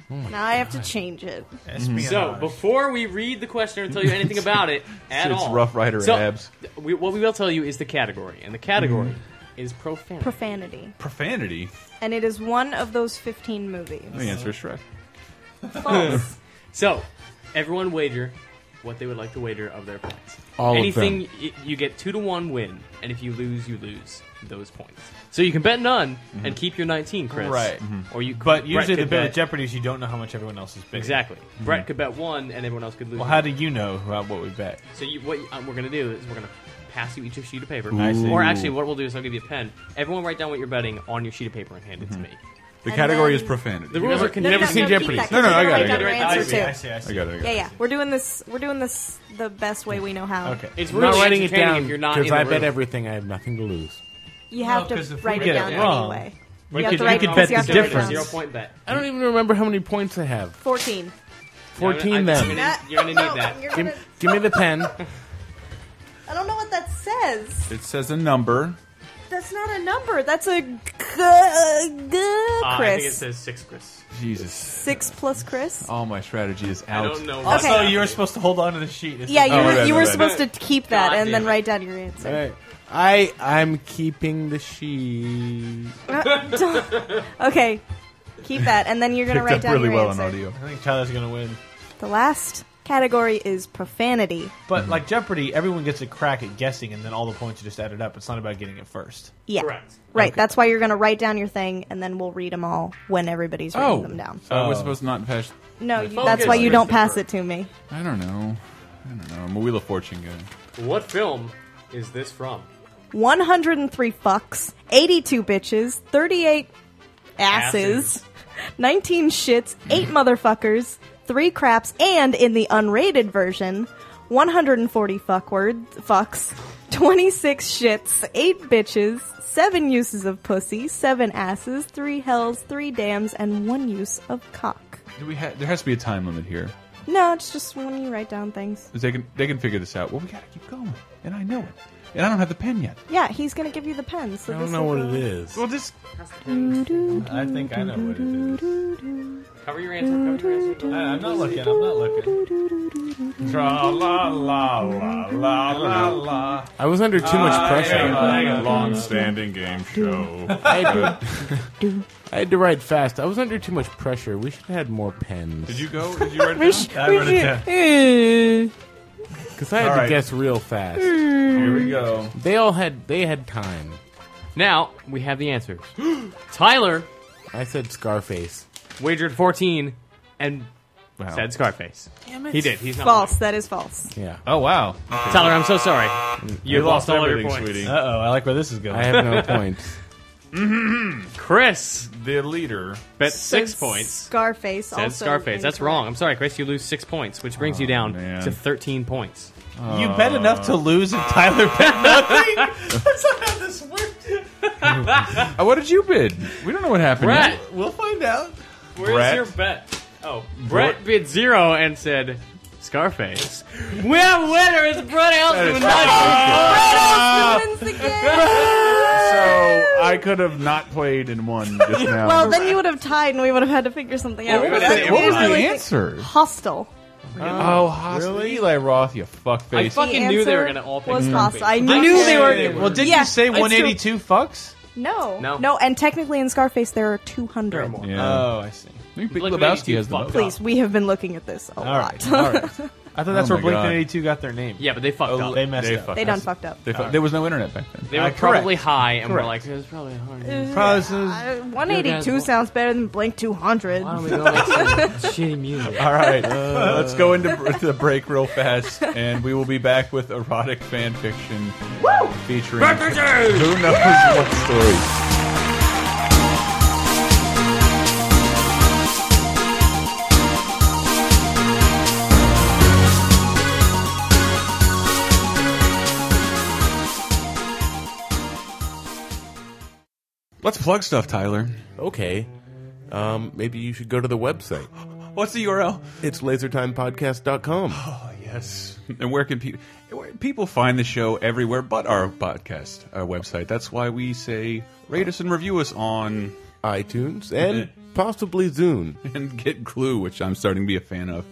[SPEAKER 6] now I have to change it.
[SPEAKER 5] Mm-hmm.
[SPEAKER 4] So before we read the question or tell you anything about it at
[SPEAKER 3] It's
[SPEAKER 4] all,
[SPEAKER 3] Rough Rider
[SPEAKER 4] so,
[SPEAKER 3] abs.
[SPEAKER 4] We, what we will tell you is the category, and the category
[SPEAKER 3] Mm-hmm.
[SPEAKER 4] is profanity.
[SPEAKER 6] Profanity.
[SPEAKER 3] Profanity.
[SPEAKER 6] And it is one of those 15 movies.
[SPEAKER 3] The answer is Shrek.
[SPEAKER 6] False.
[SPEAKER 4] so everyone wager what they would like to wager of their points.
[SPEAKER 9] All of
[SPEAKER 4] Anything y- you get two to one win, and if you lose, you lose those points. So you can bet none and keep your nineteen, Chris.
[SPEAKER 5] Right.
[SPEAKER 4] Or you,
[SPEAKER 5] But
[SPEAKER 4] Brett
[SPEAKER 5] usually the
[SPEAKER 4] could
[SPEAKER 5] bit
[SPEAKER 4] bet,
[SPEAKER 5] of Jeopardy is you don't know how much everyone else is betting.
[SPEAKER 4] exactly. Brett could bet one, and everyone else could lose.
[SPEAKER 5] Well, how do you know about what we bet?
[SPEAKER 4] So you, what um, we're gonna do is we're gonna pass you each a sheet of paper,
[SPEAKER 5] I see.
[SPEAKER 4] or actually, what we'll do is I'll give you a pen. Everyone write down what you're betting on your sheet of paper and hand it to me.
[SPEAKER 3] The
[SPEAKER 6] And
[SPEAKER 3] category
[SPEAKER 6] then-
[SPEAKER 3] is profanity.
[SPEAKER 4] The rules are
[SPEAKER 6] No, no,
[SPEAKER 4] never
[SPEAKER 6] no,
[SPEAKER 4] seen
[SPEAKER 6] no, keep
[SPEAKER 4] Jeopardy.
[SPEAKER 6] that, 'cause
[SPEAKER 3] No, no,
[SPEAKER 6] we're
[SPEAKER 3] I
[SPEAKER 6] gonna
[SPEAKER 3] got it,
[SPEAKER 6] write
[SPEAKER 3] I
[SPEAKER 6] down
[SPEAKER 3] got
[SPEAKER 6] your answer,
[SPEAKER 4] it. I see,
[SPEAKER 6] too.
[SPEAKER 5] I see, I see.
[SPEAKER 3] I got it. I got
[SPEAKER 6] Yeah,
[SPEAKER 3] it.
[SPEAKER 6] yeah. We're doing this. We're doing this the best way we know how.
[SPEAKER 5] Okay.
[SPEAKER 4] It's
[SPEAKER 9] I'm
[SPEAKER 4] really
[SPEAKER 9] not writing it
[SPEAKER 4] entertaining
[SPEAKER 9] down
[SPEAKER 4] if you're not in the
[SPEAKER 9] I bet
[SPEAKER 4] room.
[SPEAKER 9] everything. I have nothing to lose.
[SPEAKER 6] You
[SPEAKER 5] No,
[SPEAKER 6] have
[SPEAKER 5] 'cause
[SPEAKER 6] to
[SPEAKER 5] if we
[SPEAKER 6] write it
[SPEAKER 5] get it
[SPEAKER 6] down
[SPEAKER 5] wrong,
[SPEAKER 6] anyway.
[SPEAKER 5] we
[SPEAKER 6] you have
[SPEAKER 5] could-
[SPEAKER 6] to
[SPEAKER 5] you
[SPEAKER 6] write
[SPEAKER 5] could
[SPEAKER 6] it down,
[SPEAKER 5] bet
[SPEAKER 6] so you have
[SPEAKER 5] the
[SPEAKER 6] to write it
[SPEAKER 5] difference.
[SPEAKER 6] down.
[SPEAKER 4] Zero point bet.
[SPEAKER 9] I don't even remember how many points I have.
[SPEAKER 6] 14.
[SPEAKER 4] I-
[SPEAKER 9] 14
[SPEAKER 4] I'm
[SPEAKER 9] then.
[SPEAKER 4] gonna- You're gonna need that.
[SPEAKER 6] You're
[SPEAKER 9] Give,
[SPEAKER 6] gonna,
[SPEAKER 9] give me the pen.
[SPEAKER 6] I don't know what that says.
[SPEAKER 3] It says a number.
[SPEAKER 6] That's not a number. That's a g- uh, g-
[SPEAKER 4] Uh, I think it
[SPEAKER 6] Chris.
[SPEAKER 4] says six, Chris.
[SPEAKER 3] Jesus.
[SPEAKER 6] Six plus Chris.
[SPEAKER 3] All my strategy is
[SPEAKER 4] I
[SPEAKER 3] out.
[SPEAKER 4] don't know.
[SPEAKER 6] Okay.
[SPEAKER 5] Also, you were supposed to hold on to the sheet. It's
[SPEAKER 6] Yeah, you
[SPEAKER 3] Oh, my
[SPEAKER 6] were,
[SPEAKER 3] bad,
[SPEAKER 6] you
[SPEAKER 3] my
[SPEAKER 6] were
[SPEAKER 3] bad.
[SPEAKER 6] supposed to keep that
[SPEAKER 4] God
[SPEAKER 6] and then
[SPEAKER 4] damn it.
[SPEAKER 6] write down your answer.
[SPEAKER 9] All right. I I'm keeping the sheet.
[SPEAKER 6] Uh, Okay, keep that, and then you're gonna write down
[SPEAKER 3] really
[SPEAKER 6] your
[SPEAKER 3] well
[SPEAKER 6] answer.
[SPEAKER 3] on audio.
[SPEAKER 5] I think Tyler's going to win.
[SPEAKER 6] The last category is profanity.
[SPEAKER 5] But like Jeopardy, everyone gets a crack at guessing, and then all the points are just added up. It's not about getting it first.
[SPEAKER 6] Yeah,
[SPEAKER 4] Correct.
[SPEAKER 6] Right. That's why you're gonna write down your thing, and then we'll read them all when everybody's
[SPEAKER 3] Oh.
[SPEAKER 6] writing them down.
[SPEAKER 3] So I was Uh, supposed to not pass.
[SPEAKER 6] No, you,
[SPEAKER 4] Focus,
[SPEAKER 6] that's why you don't
[SPEAKER 4] Christopher.
[SPEAKER 6] pass it to me.
[SPEAKER 3] I don't know. I don't know. I'm a Wheel of Fortune guy.
[SPEAKER 4] What film is this from?
[SPEAKER 6] 103 fucks, 82 bitches, 38 asses,
[SPEAKER 4] Asses.
[SPEAKER 6] 19 shits, 8 motherfuckers, 3 craps, and in the unrated version, 140 fuckword, fucks, 26 shits, 8 bitches, 7 uses of pussy, 7 asses, 3 hells, 3 dams, and 1 use of cock.
[SPEAKER 3] Do we ha there has to be a time limit here.
[SPEAKER 6] No, it's just when you write down things.
[SPEAKER 3] 'Cause They can they can figure this out. Well, we gotta keep going, and I know it, and I don't have the pen yet.
[SPEAKER 6] Yeah, he's gonna give you the pen. So
[SPEAKER 9] I
[SPEAKER 6] this
[SPEAKER 9] don't know
[SPEAKER 6] will
[SPEAKER 9] what
[SPEAKER 6] go-
[SPEAKER 9] it is.
[SPEAKER 3] Well, this
[SPEAKER 5] I think I know what it is.
[SPEAKER 4] Cover your answer. Cover your answer.
[SPEAKER 5] I, I'm not looking. I'm not looking. Tra la la la la la la.
[SPEAKER 9] I was under too
[SPEAKER 4] Uh,
[SPEAKER 9] much pressure.
[SPEAKER 11] long-standing game show.
[SPEAKER 9] I, had to, I had to write fast. I was under too much pressure. We should have had more pens.
[SPEAKER 3] did you go? Did you write
[SPEAKER 6] We
[SPEAKER 3] it down?
[SPEAKER 6] sh-
[SPEAKER 5] I
[SPEAKER 6] we
[SPEAKER 5] wrote it
[SPEAKER 6] sh- Eh.
[SPEAKER 9] Because I had
[SPEAKER 5] All
[SPEAKER 9] to
[SPEAKER 5] right.
[SPEAKER 9] guess real fast.
[SPEAKER 3] Here we go.
[SPEAKER 9] They all had they had time.
[SPEAKER 4] Now we have the answers. Tyler
[SPEAKER 9] I said Scarface.
[SPEAKER 4] wagered 14 and
[SPEAKER 3] Wow.
[SPEAKER 4] said Scarface. He did. He's not
[SPEAKER 6] False. That is false.
[SPEAKER 9] Yeah,
[SPEAKER 3] Oh wow!
[SPEAKER 4] lying. Tyler, I'm so sorry. You, Mm. lost, all of your
[SPEAKER 3] everything,
[SPEAKER 4] points.
[SPEAKER 3] sweetie.
[SPEAKER 5] Uh oh, I like where this is
[SPEAKER 9] I
[SPEAKER 5] going.
[SPEAKER 9] have no points.
[SPEAKER 4] Chris
[SPEAKER 11] the leader.
[SPEAKER 4] bet six
[SPEAKER 6] Said
[SPEAKER 4] points.
[SPEAKER 6] Scarface.
[SPEAKER 4] Said
[SPEAKER 6] also
[SPEAKER 4] Scarface. That's
[SPEAKER 6] incorrect.
[SPEAKER 4] wrong. I'm sorry, Chris. You lose six points, which brings you down
[SPEAKER 3] man.
[SPEAKER 4] to 13 points.
[SPEAKER 5] You bet enough to lose, and Tyler bet nothing. That's not how this works.
[SPEAKER 3] Uh, what did you bid? We don't know what happened.
[SPEAKER 4] Brett,
[SPEAKER 5] We'll find out.
[SPEAKER 4] where's
[SPEAKER 11] Brett?
[SPEAKER 4] your bet? Oh, Brett bid zero and said Scarface. well, winner is Brett Elson with nine
[SPEAKER 6] Wins the game.
[SPEAKER 3] So I could have not played and won just now.
[SPEAKER 6] well, then you would have tied, and we would have had to figure something out.
[SPEAKER 3] what was the, what was the
[SPEAKER 6] Really
[SPEAKER 3] answer?
[SPEAKER 6] Hostile.
[SPEAKER 3] Oh, hostile. Eli Roth, you
[SPEAKER 4] I
[SPEAKER 3] fuckface.
[SPEAKER 6] The
[SPEAKER 4] fucking knew they were
[SPEAKER 6] answer
[SPEAKER 4] gonna all pick
[SPEAKER 6] was
[SPEAKER 4] Scarface.
[SPEAKER 6] hostile. I knew,
[SPEAKER 5] they were. Well, didn't
[SPEAKER 6] Yeah,
[SPEAKER 5] you say
[SPEAKER 6] it's true.
[SPEAKER 5] 182 fucks?
[SPEAKER 6] No.
[SPEAKER 4] No.
[SPEAKER 6] No, and technically in Scarface there are 200.
[SPEAKER 3] yeah.
[SPEAKER 5] Oh, I see.
[SPEAKER 3] I think Big
[SPEAKER 4] Look,
[SPEAKER 3] Lebowski
[SPEAKER 4] maybe
[SPEAKER 3] has the
[SPEAKER 4] you
[SPEAKER 3] most.
[SPEAKER 6] Please, we have been looking at this a
[SPEAKER 5] All
[SPEAKER 6] lot.
[SPEAKER 5] right. All right. I thought that's
[SPEAKER 3] Oh
[SPEAKER 5] where
[SPEAKER 3] my
[SPEAKER 5] Blink
[SPEAKER 3] God.
[SPEAKER 5] 182 got their name.
[SPEAKER 4] Yeah, but they fucked
[SPEAKER 5] Oh,
[SPEAKER 4] up.
[SPEAKER 5] they messed
[SPEAKER 3] They
[SPEAKER 5] up.
[SPEAKER 3] fucked
[SPEAKER 6] they done fucked up.
[SPEAKER 3] They fu- There was no internet back then.
[SPEAKER 4] They were
[SPEAKER 5] Uh, correct.
[SPEAKER 4] probably high, and we're
[SPEAKER 5] Correct.
[SPEAKER 4] like, "It's probably hard."
[SPEAKER 5] Probably this is-
[SPEAKER 6] Uh,
[SPEAKER 4] You
[SPEAKER 6] 182
[SPEAKER 4] guys-
[SPEAKER 6] sounds better than blank 200.
[SPEAKER 4] Why don't we go make some shitty music?
[SPEAKER 3] All right, let's go into br- the break real fast, and we will be back with erotic fan fiction featuring who knows what stories. Let's plug stuff, Tyler.
[SPEAKER 9] Okay, um, maybe you should go to the website.
[SPEAKER 3] What's the URL?
[SPEAKER 9] It's lasertimepodcast.com.
[SPEAKER 3] Yes. And where can people people find the show everywhere but our podcast, our website. That's why we say rate us and review us on
[SPEAKER 9] iTunes and possibly Zune.
[SPEAKER 3] and get Clue, which I'm starting to be a fan of.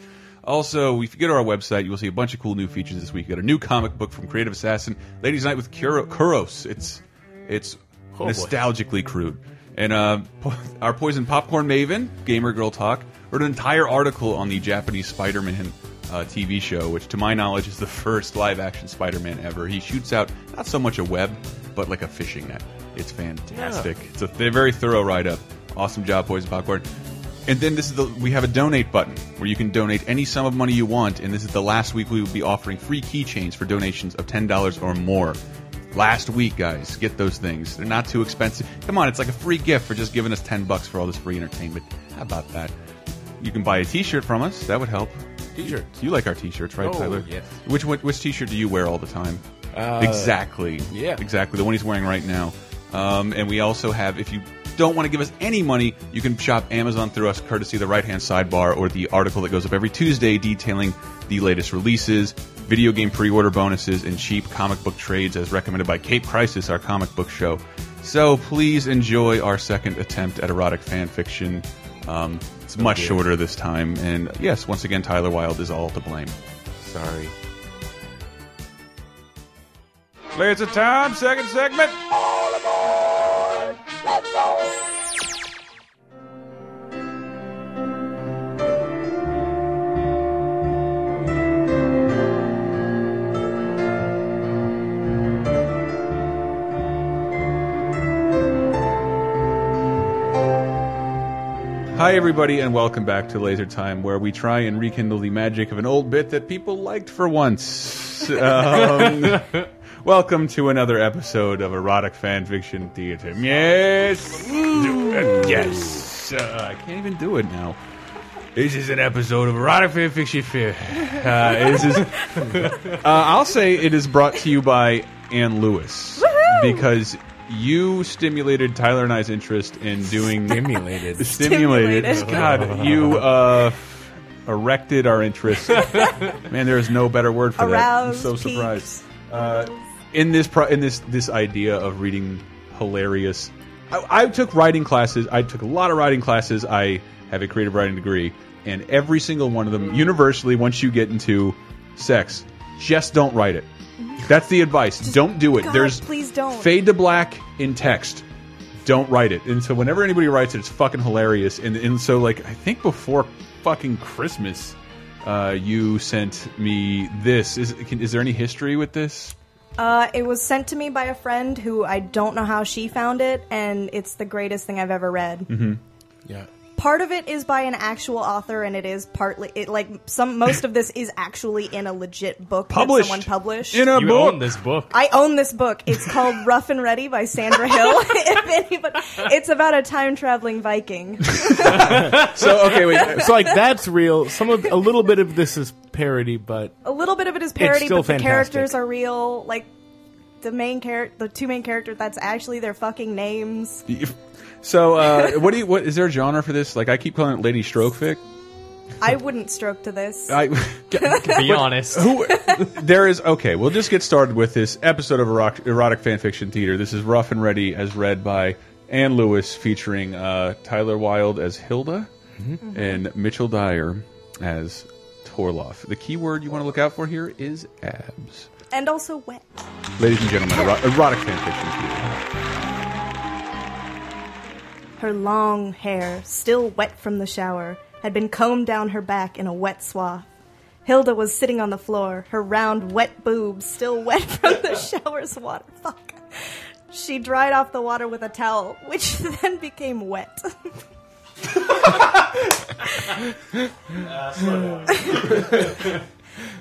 [SPEAKER 3] Also, if you go to our website, you will see a bunch of cool new features this week. You got a new comic book from Creative Assassin, Ladies Night with Kuro- Kuros. It's it's
[SPEAKER 9] boy.
[SPEAKER 3] nostalgically crude. And uh, po- our Poison Popcorn Maven, Gamer Girl Talk, wrote an entire article on the Japanese Spider-Man uh, TV show, which, to my knowledge, is the first live-action Spider-Man ever. He shoots out not so much a web, but like a fishing net. It's fantastic. It's a th very thorough write-up. Awesome job, Poison Popcorn. And then this is the we have a donate button where you can donate any sum of money you want. And this is the last week we will be offering free keychains for donations of ten dollars or more. Last week, guys, get those things. They're not too expensive. Come on, it's like a free gift for just giving us ten bucks for all this free entertainment. How about that? You can buy a T-shirt from us. That would help.
[SPEAKER 9] T-shirts.
[SPEAKER 3] You like our T-shirts, right,
[SPEAKER 9] Oh,
[SPEAKER 3] Tyler?
[SPEAKER 9] yes. Uh,
[SPEAKER 3] Which one- which T-shirt do you wear all the time? exactly.
[SPEAKER 9] yeah.
[SPEAKER 3] Exactly. The one he's wearing right now. Um, and we also have, if you don't want to give us any money, you can shop Amazon through us, courtesy of the right hand sidebar or the article that goes up every Tuesday detailing the latest releases, video game pre order bonuses, and cheap comic book trades as recommended by Cape Crisis, our comic book show. So please enjoy our second attempt at erotic fan fiction. Um, it's much shorter this time. And yes, once again, Tyler Wilde is all to blame.
[SPEAKER 9] Sorry.
[SPEAKER 3] It's a time, second segment. Hi, everybody, and welcome back to Laser Time, where we try and rekindle the magic of an old bit that people liked for once. Um, welcome to another episode of Erotic Fan Fiction Theater. Yes! Yes! Uh, I can't even do it now. This is an episode of Erotic Fan Fiction Fear. Uh, this is, uh, I'll say it is brought to you by Ann Lewis. Because you stimulated Tyler and I's interest in doing
[SPEAKER 9] Stimulated.
[SPEAKER 3] stimulated.
[SPEAKER 9] Stimulated.
[SPEAKER 3] God, you uh, erected our interest. Man, there is no better word for that. I'm
[SPEAKER 6] Aroused,
[SPEAKER 3] so
[SPEAKER 6] piqued.
[SPEAKER 3] surprised. Uh, in this pro in this this idea of reading hilarious, I, I took writing classes. I took a lot of writing classes. I have a creative writing degree, and every single one of them, universally, once you get into sex, just don't write it. That's the advice. don't do it.
[SPEAKER 6] God,
[SPEAKER 3] There's
[SPEAKER 6] please don't.
[SPEAKER 3] fade to black in text. Don't write it. And so whenever anybody writes it, it's fucking hilarious. And and so like I think before fucking Christmas, uh, you sent me this. Is can, is there any history with this?
[SPEAKER 6] Uh, it was sent to me by a friend who I don't know how she found it, and it's the greatest thing I've ever read.
[SPEAKER 3] Mm-hmm.
[SPEAKER 9] Yeah.
[SPEAKER 6] Part of it is by an actual author, and it is partly it like some most of this is actually in a legit book
[SPEAKER 4] Published.
[SPEAKER 6] that someone published
[SPEAKER 4] In a You book. own this book.
[SPEAKER 6] I own this book. It's called Rough and Ready by Sandra Hill. if anybody, it's about a time traveling Viking.
[SPEAKER 3] So okay, wait.
[SPEAKER 9] so like that's real. Some of a little bit of this is parody, but
[SPEAKER 6] A little bit of it is
[SPEAKER 9] It's
[SPEAKER 6] parody,
[SPEAKER 9] still
[SPEAKER 6] but the
[SPEAKER 9] fantastic.
[SPEAKER 6] characters are real. Like the main character, the two main characters, that's actually their fucking names.
[SPEAKER 3] So uh, what do you what is there a genre for this? Like I keep calling it lady stroke fic.
[SPEAKER 6] I wouldn't stroke to this.
[SPEAKER 3] I
[SPEAKER 4] Be honest.
[SPEAKER 3] Who, there is okay. We'll just get started with this episode of erotic, erotic fan fiction theater. This is rough and ready, as read by Ann Lewis, featuring uh, Tyler Wilde as Hilda
[SPEAKER 4] Mm-hmm.
[SPEAKER 11] Mhm.
[SPEAKER 3] and Mitchell Dyer as Torloff. The key word you want to look out for here is abs,
[SPEAKER 6] and also wet.
[SPEAKER 3] ladies and gentlemen. Ero erotic fan fiction theater.
[SPEAKER 6] Her long hair, still wet from the shower, had been combed down her back in a wet swath. Hilda was sitting on the floor, her round, wet boobs still wet from the shower's water. Fuck. She dried off the water with a towel, which then became wet.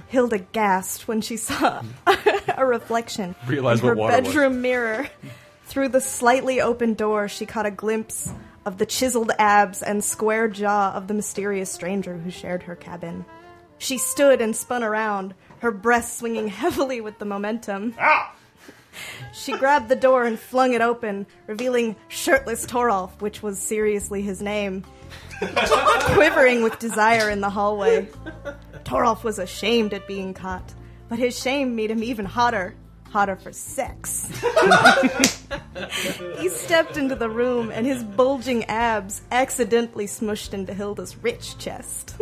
[SPEAKER 6] Hilda gasped when she saw a reflection
[SPEAKER 3] Realized
[SPEAKER 6] in her
[SPEAKER 3] what water was.
[SPEAKER 6] bedroom mirror. Through the slightly open door, she caught a glimpse of the chiseled abs and square jaw of the mysterious stranger who shared her cabin. She stood and spun around, her breasts swinging heavily with the momentum. She grabbed the door and flung it open, revealing shirtless Torolf, which was seriously his name, quivering with desire in the hallway. Torolf was ashamed at being caught, but his shame made him even hotter. Hotter for sex. he stepped into the room and his bulging abs accidentally smushed into Hilda's rich chest.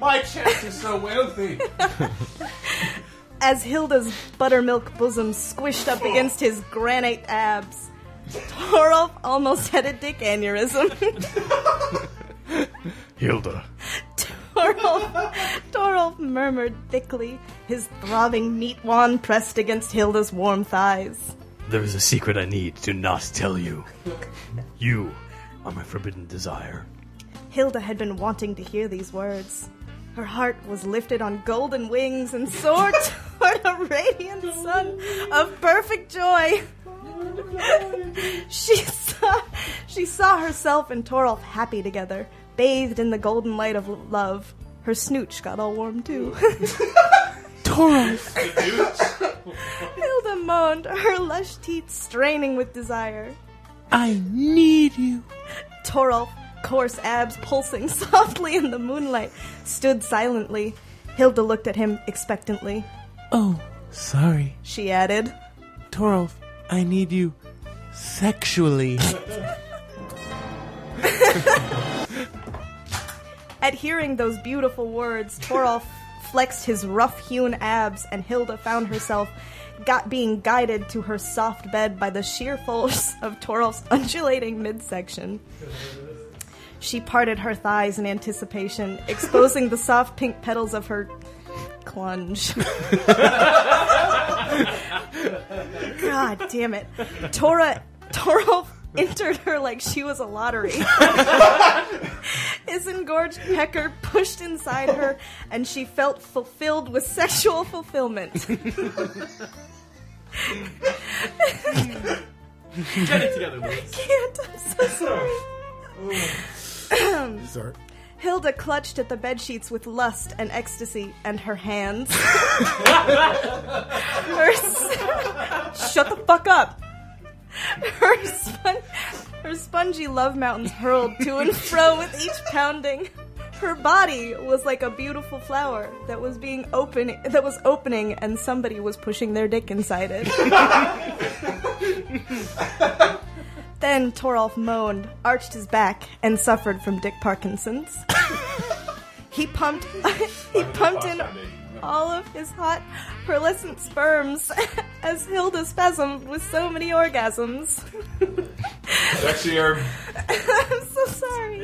[SPEAKER 9] my chest is so wealthy.
[SPEAKER 6] as Hilda's buttermilk bosom squished up against his granite abs. Torolf almost had a dick aneurysm.
[SPEAKER 7] Hilda.
[SPEAKER 6] Torolf, Torolf murmured thickly, his throbbing meat wand pressed against Hilda's warm thighs.
[SPEAKER 12] There is a secret I need to not tell you. You are my forbidden desire.
[SPEAKER 6] Hilda had been wanting to hear these words. Her heart was lifted on golden wings and soared toward a radiant sun of perfect joy. she saw she saw herself and Torolf happy together, bathed in the golden light of l- love. Her snooch got all warm too. Torolf. Hilda moaned, her lush teeth straining with desire.
[SPEAKER 9] I need you.
[SPEAKER 6] Torolf, coarse abs pulsing softly in the moonlight, stood silently. Hilda looked at him expectantly.
[SPEAKER 9] Oh, sorry,
[SPEAKER 6] She added,
[SPEAKER 9] Torolf. I need you sexually.
[SPEAKER 6] At hearing those beautiful words, Torolf flexed his rough hewn abs, and Hilda found herself got being guided to her soft bed by the sheer force of Torolf's undulating midsection. She parted her thighs in anticipation, exposing the soft pink petals of her clunge. God damn it. Tora Torolf entered her like she was a lottery. His engorged pecker pushed inside her, and she felt fulfilled with sexual fulfillment.
[SPEAKER 7] Get it together,
[SPEAKER 6] I
[SPEAKER 7] boys.
[SPEAKER 6] can't. I'm so sorry.
[SPEAKER 9] Sorry.
[SPEAKER 6] Hilda clutched at the bedsheets with lust and ecstasy, and her hands. her s- Shut the fuck up! Her, spon- her spongy love mountains hurled to and fro with each pounding. Her body was like a beautiful flower that was being open that was opening and somebody was pushing their dick inside it. Then Torolf moaned, arched his back, and suffered from Dick Parkinson's. he pumped he pumped in all of his hot pearlescent sperms as Hilda spasmed with so many orgasms.
[SPEAKER 11] Sexy herb.
[SPEAKER 6] I'm so sorry.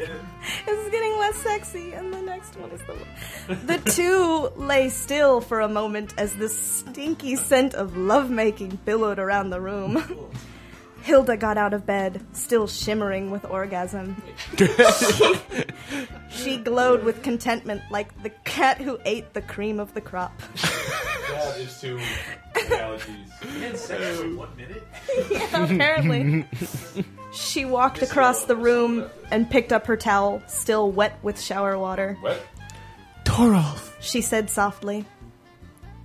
[SPEAKER 6] This is getting less sexy, and the next one is the one. The two lay still for a moment as the stinky scent of lovemaking billowed around the room. Hilda got out of bed, still shimmering with orgasm. she, she glowed with contentment like the cat who ate the cream of the crop.
[SPEAKER 11] That is two analogies. one minute?
[SPEAKER 6] yeah, apparently. She walked across the room and picked up her towel, still wet with shower water.
[SPEAKER 11] Wet?
[SPEAKER 9] Torolf,
[SPEAKER 6] She said softly,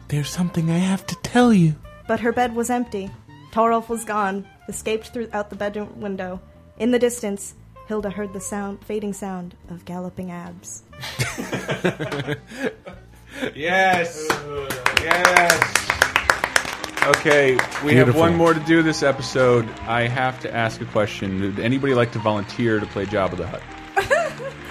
[SPEAKER 9] there's something I have to tell you.
[SPEAKER 6] but her bed was empty. Torolf was gone, escaped through out the bedroom window. In the distance, Hilda heard the sound, fading sound of galloping abs.
[SPEAKER 3] Yes. Yes. Okay, we have
[SPEAKER 9] Beautiful.
[SPEAKER 3] one more to do this episode. I have to ask a question. Would anybody like to volunteer to play Job of the Hut?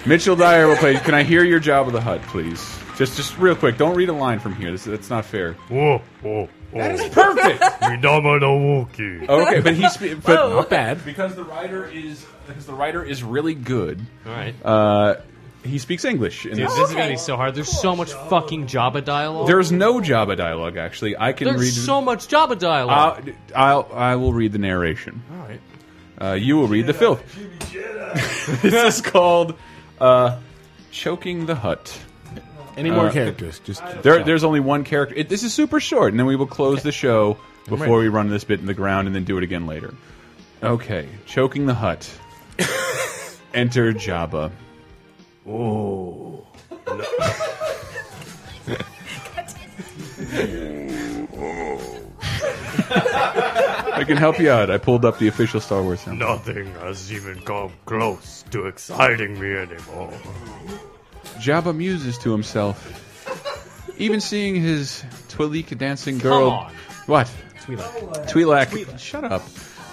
[SPEAKER 3] Mitchell Dyer will play. Can I hear your Job of the Hut, please? Just, just real quick. Don't read a line from here. This, that's not fair.
[SPEAKER 12] Whoa, whoa, whoa.
[SPEAKER 3] That is perfect.
[SPEAKER 12] Minama no Wookie.
[SPEAKER 3] Okay, but he's but
[SPEAKER 12] Whoa.
[SPEAKER 3] not bad because the writer is because the writer is really good. All
[SPEAKER 4] right.
[SPEAKER 3] Uh, he speaks English. in
[SPEAKER 4] Dude,
[SPEAKER 3] this.
[SPEAKER 4] this is gonna be so hard. There's so much fucking Jabba dialogue.
[SPEAKER 3] There's no Jabba dialogue actually. I can
[SPEAKER 4] There's
[SPEAKER 3] read.
[SPEAKER 4] so much Jabba
[SPEAKER 5] Uh,
[SPEAKER 4] dialogue.
[SPEAKER 3] I'll, I'll I will read the narration.
[SPEAKER 4] All right.
[SPEAKER 3] Uh, you will read the filth. this is called uh, choking the hut.
[SPEAKER 9] Any more
[SPEAKER 3] Uh,
[SPEAKER 9] characters? Just
[SPEAKER 3] There, there's only one character. It, this is super short, and then we will close the show
[SPEAKER 9] I'm
[SPEAKER 3] before
[SPEAKER 9] ready.
[SPEAKER 3] we run this bit in the ground and then do it again later. Okay, choking the hut. Enter Jabba.
[SPEAKER 12] Oh.
[SPEAKER 3] I can help you out. I pulled up the official Star Wars sound.
[SPEAKER 12] Nothing has even come close to exciting me anymore.
[SPEAKER 3] Jabba muses to himself. Even seeing his Twi'lek dancing
[SPEAKER 12] Come
[SPEAKER 3] girl.
[SPEAKER 12] on.
[SPEAKER 3] What?
[SPEAKER 12] Twi'lek.
[SPEAKER 3] Twi'lek.
[SPEAKER 12] Twi'lek.
[SPEAKER 3] Shut up.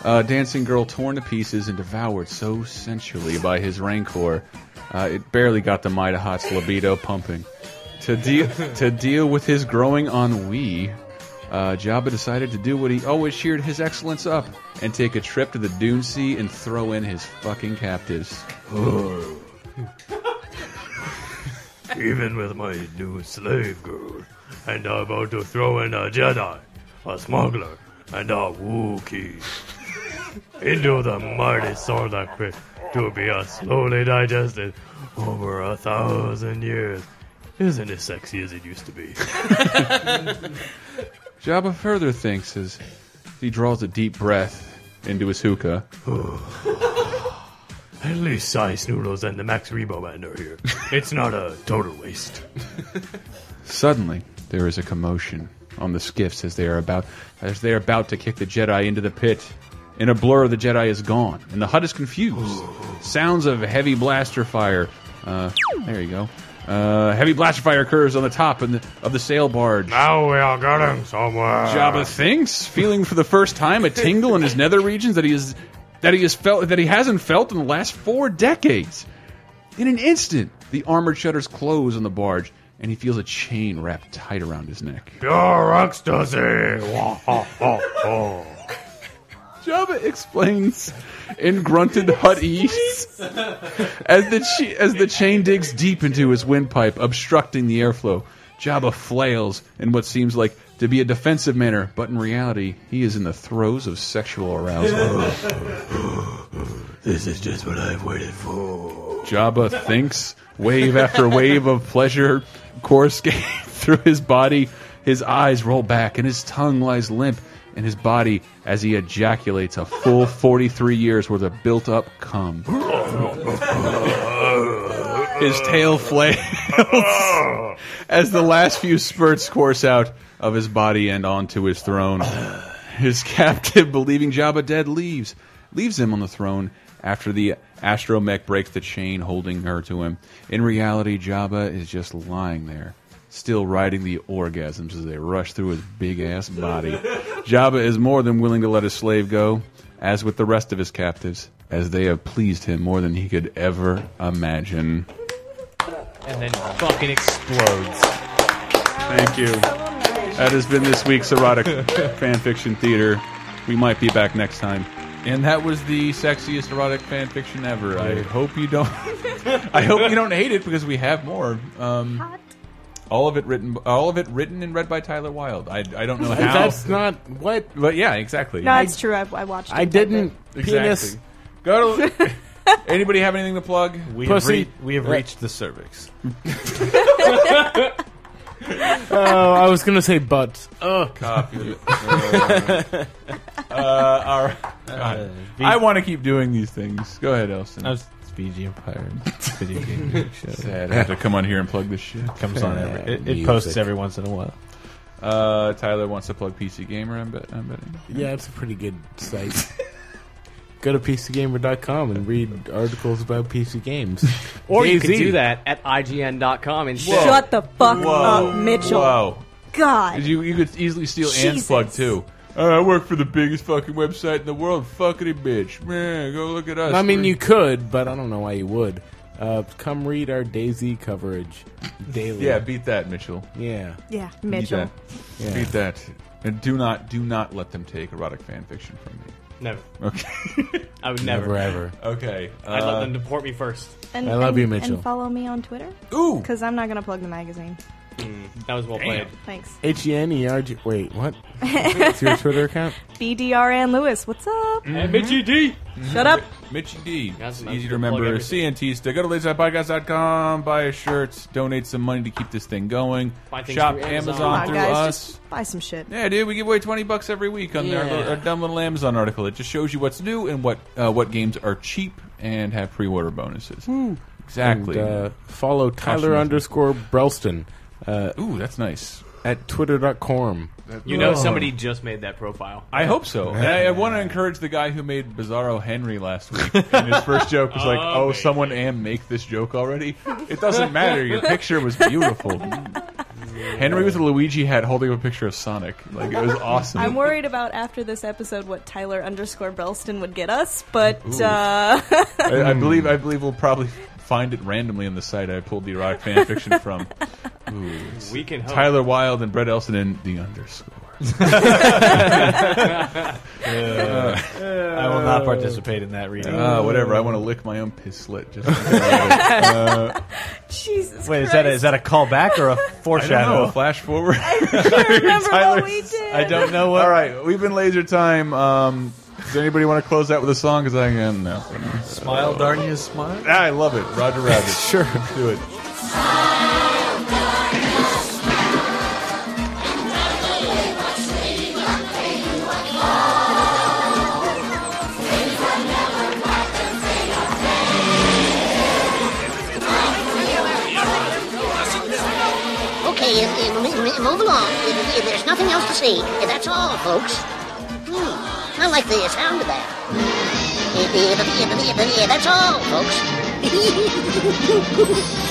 [SPEAKER 3] Uh, dancing girl torn to pieces and devoured so sensually by his rancor, uh, it barely got the Mida Hot's libido pumping. To deal to deal with his growing ennui, uh, Jabba decided to do what he always cheered his excellence up and take a trip to the Dune Sea and throw in his fucking captives.
[SPEAKER 12] Even with my new slave girl, and I'm about to throw in a Jedi, a smuggler, and a Wookiee into the mighty Sarlacc pit to be uh, slowly digested over a thousand years. Isn't it sexy as it used to be?
[SPEAKER 3] Jabba further thinks as he draws a deep breath into his hookah.
[SPEAKER 12] At least Size Noodles and the Max Rebo Man are here. It's not a total waste.
[SPEAKER 3] Suddenly, there is a commotion on the skiffs as they are about as they are about to kick the Jedi into the pit. In a blur, the Jedi is gone, and the hut is confused. Sounds of heavy blaster fire. Uh, there you go. Uh, heavy blaster fire occurs on the top of the, of the sail barge.
[SPEAKER 12] Now we are getting somewhere.
[SPEAKER 3] Jabba thinks, feeling for the first time a tingle in his nether regions that he is that he has felt that he hasn't felt in the last four decades. In an instant, the armored shutters close on the barge, and he feels a chain wrapped tight around his neck.
[SPEAKER 12] Pure ecstasy! Wah, ha, ha, ha.
[SPEAKER 3] Jabba explains in grunted hut ease as the chi- as the chain digs deep into his windpipe, obstructing the airflow. Jabba flails in what seems like to be a defensive manner, but in reality, he is in the throes of sexual arousal.
[SPEAKER 12] This is just what I've waited for.
[SPEAKER 3] Jabba thinks wave after wave of pleasure coursing through his body. His eyes roll back and his tongue lies limp in his body as he ejaculates a full 43 years worth of built up cum. His tail flails as the last few spurts course out of his body and onto his throne. His captive, believing Jabba dead, leaves. Leaves him on the throne after the astromech breaks the chain holding her to him. In reality, Jabba is just lying there, still riding the orgasms as they rush through his big ass body. Jabba is more than willing to let his slave go, as with the rest of his captives, as they have pleased him more than he could ever imagine.
[SPEAKER 4] and then fucking explodes.
[SPEAKER 3] Thank you. That has been this week's erotic fan fiction theater. We might be back next time. And that was the sexiest erotic fan fiction ever. I hope you don't. I hope you don't hate it because we have more. Um, all of it written, all of it written and read by Tyler Wilde. I, I don't know how.
[SPEAKER 9] That's not what.
[SPEAKER 3] But yeah, exactly.
[SPEAKER 6] No, it's true. I, I watched.
[SPEAKER 9] I
[SPEAKER 6] it.
[SPEAKER 9] didn't.
[SPEAKER 3] Exactly.
[SPEAKER 9] Penis.
[SPEAKER 3] Go to. Anybody have anything to plug?
[SPEAKER 5] We
[SPEAKER 9] Pussy.
[SPEAKER 5] have, rea- we have
[SPEAKER 9] Right.
[SPEAKER 5] reached the cervix.
[SPEAKER 9] Oh, I was gonna say butts. Ugh.
[SPEAKER 3] Copy. uh, all right.
[SPEAKER 5] Uh,
[SPEAKER 3] God. I want to keep doing these things. Go ahead, Elston.
[SPEAKER 11] I was it's BG Empire video game show.
[SPEAKER 3] Sad. I have to come on here and plug this shit.
[SPEAKER 11] Comes on every. It, it
[SPEAKER 9] Music.
[SPEAKER 11] posts every once in a while.
[SPEAKER 3] Uh, Tyler wants to plug PC Gamer. I'm, bet I'm betting.
[SPEAKER 9] Yeah, it's a pretty good site. Go to PCGamer.com and read articles about PC games.
[SPEAKER 4] Or you could
[SPEAKER 9] DayZ.
[SPEAKER 4] do that at IGN.com and
[SPEAKER 6] Shut the fuck up, Mitchell.
[SPEAKER 3] Wow.
[SPEAKER 6] God.
[SPEAKER 3] You you could easily steal Anne's
[SPEAKER 6] Jesus.
[SPEAKER 3] plug too. Uh, I work for the biggest fucking website in the world. Fuckity bitch. Man, go look at us.
[SPEAKER 9] I mean,
[SPEAKER 3] We're-
[SPEAKER 9] you could, but I don't know why you would. Uh, come read our Daisy coverage daily.
[SPEAKER 3] Yeah, beat that, Mitchell.
[SPEAKER 9] yeah.
[SPEAKER 6] Yeah,
[SPEAKER 3] Beat
[SPEAKER 6] Mitchell.
[SPEAKER 3] that. Beat that. And do not do not let them take erotic fan fiction from me.
[SPEAKER 4] Never.
[SPEAKER 3] Okay.
[SPEAKER 4] I would never.
[SPEAKER 9] Never ever.
[SPEAKER 3] okay.
[SPEAKER 4] I'd
[SPEAKER 3] uh,
[SPEAKER 4] let them deport me first.
[SPEAKER 6] And,
[SPEAKER 9] I love
[SPEAKER 6] and-
[SPEAKER 9] you, Mitchell.
[SPEAKER 6] And follow me on Twitter
[SPEAKER 3] Ooh.
[SPEAKER 6] because I'm not gonna plug the magazine.
[SPEAKER 4] That was well played.
[SPEAKER 6] Thanks.
[SPEAKER 9] H E N E R G. Wait, what? It's your Twitter account?
[SPEAKER 6] BDR Ann Lewis, what's up?
[SPEAKER 4] Hey, Mitchie D.
[SPEAKER 5] Mm-hmm.
[SPEAKER 6] Shut up.
[SPEAKER 3] Mitchie D.
[SPEAKER 4] That's
[SPEAKER 3] It's
[SPEAKER 4] nice
[SPEAKER 3] easy
[SPEAKER 4] to
[SPEAKER 3] to
[SPEAKER 4] plug
[SPEAKER 3] remember.
[SPEAKER 4] everything.
[SPEAKER 3] CNT stick. Go to laserpodcast.com. Buy a shirt. Donate some money to keep this thing going.
[SPEAKER 4] Buy things
[SPEAKER 3] Shop
[SPEAKER 4] through
[SPEAKER 3] Amazon,
[SPEAKER 4] Amazon.
[SPEAKER 6] Come on,
[SPEAKER 3] through
[SPEAKER 6] guys,
[SPEAKER 3] us.
[SPEAKER 6] just buy some shit.
[SPEAKER 3] Yeah, dude, we give away twenty bucks every week on our,
[SPEAKER 4] Yeah.
[SPEAKER 3] little- our dumb little Amazon article. It just shows you what's new and what uh, what games are cheap and have pre-order bonuses. Exactly.
[SPEAKER 9] And, uh, follow Tyler
[SPEAKER 3] Cautionism.
[SPEAKER 9] underscore Brelston uh,
[SPEAKER 3] Ooh, that's nice.
[SPEAKER 9] at twitter.com.
[SPEAKER 4] You know somebody just made that profile.
[SPEAKER 3] I hope so. And I, I want to encourage the guy who made Bizarro Henry last week. And his first joke was like, "Oh, someone am make this joke already." It doesn't matter. Your picture was beautiful. Henry with a Luigi hat holding up a picture of Sonic. Like it was awesome.
[SPEAKER 6] I'm worried about after this episode what Tyler underscore Brelston would get us, but uh,
[SPEAKER 3] I, I believe I believe we'll probably find it randomly on the site I pulled the erotic fan fiction from. Ooh, it's
[SPEAKER 4] We can hope.
[SPEAKER 3] Tyler Wilde and Brett Elson in the underscore.
[SPEAKER 5] I will not participate in that reading.
[SPEAKER 3] Uh, whatever. I want to lick my own piss slit. Just
[SPEAKER 6] Jesus
[SPEAKER 5] Wait,
[SPEAKER 6] Christ.
[SPEAKER 5] is that a, is that a callback or a
[SPEAKER 3] I don't know.
[SPEAKER 5] foreshadow?
[SPEAKER 3] Flash forward.
[SPEAKER 6] I remember
[SPEAKER 3] Tyler's-
[SPEAKER 6] what we did.
[SPEAKER 5] I don't know what.
[SPEAKER 3] All right, we've been laser time. Um, does anybody want to close out with a song? Because I can no.
[SPEAKER 5] Smile, darn you, smile.
[SPEAKER 3] Ah, I love it. Roger Rabbit. sure, let's do it.
[SPEAKER 1] Okay, if, if, m- move along. If, if there's nothing else to see, if that's all, folks. Hmm, I like the sound of that. If, if, if, if, if, if that's all, folks.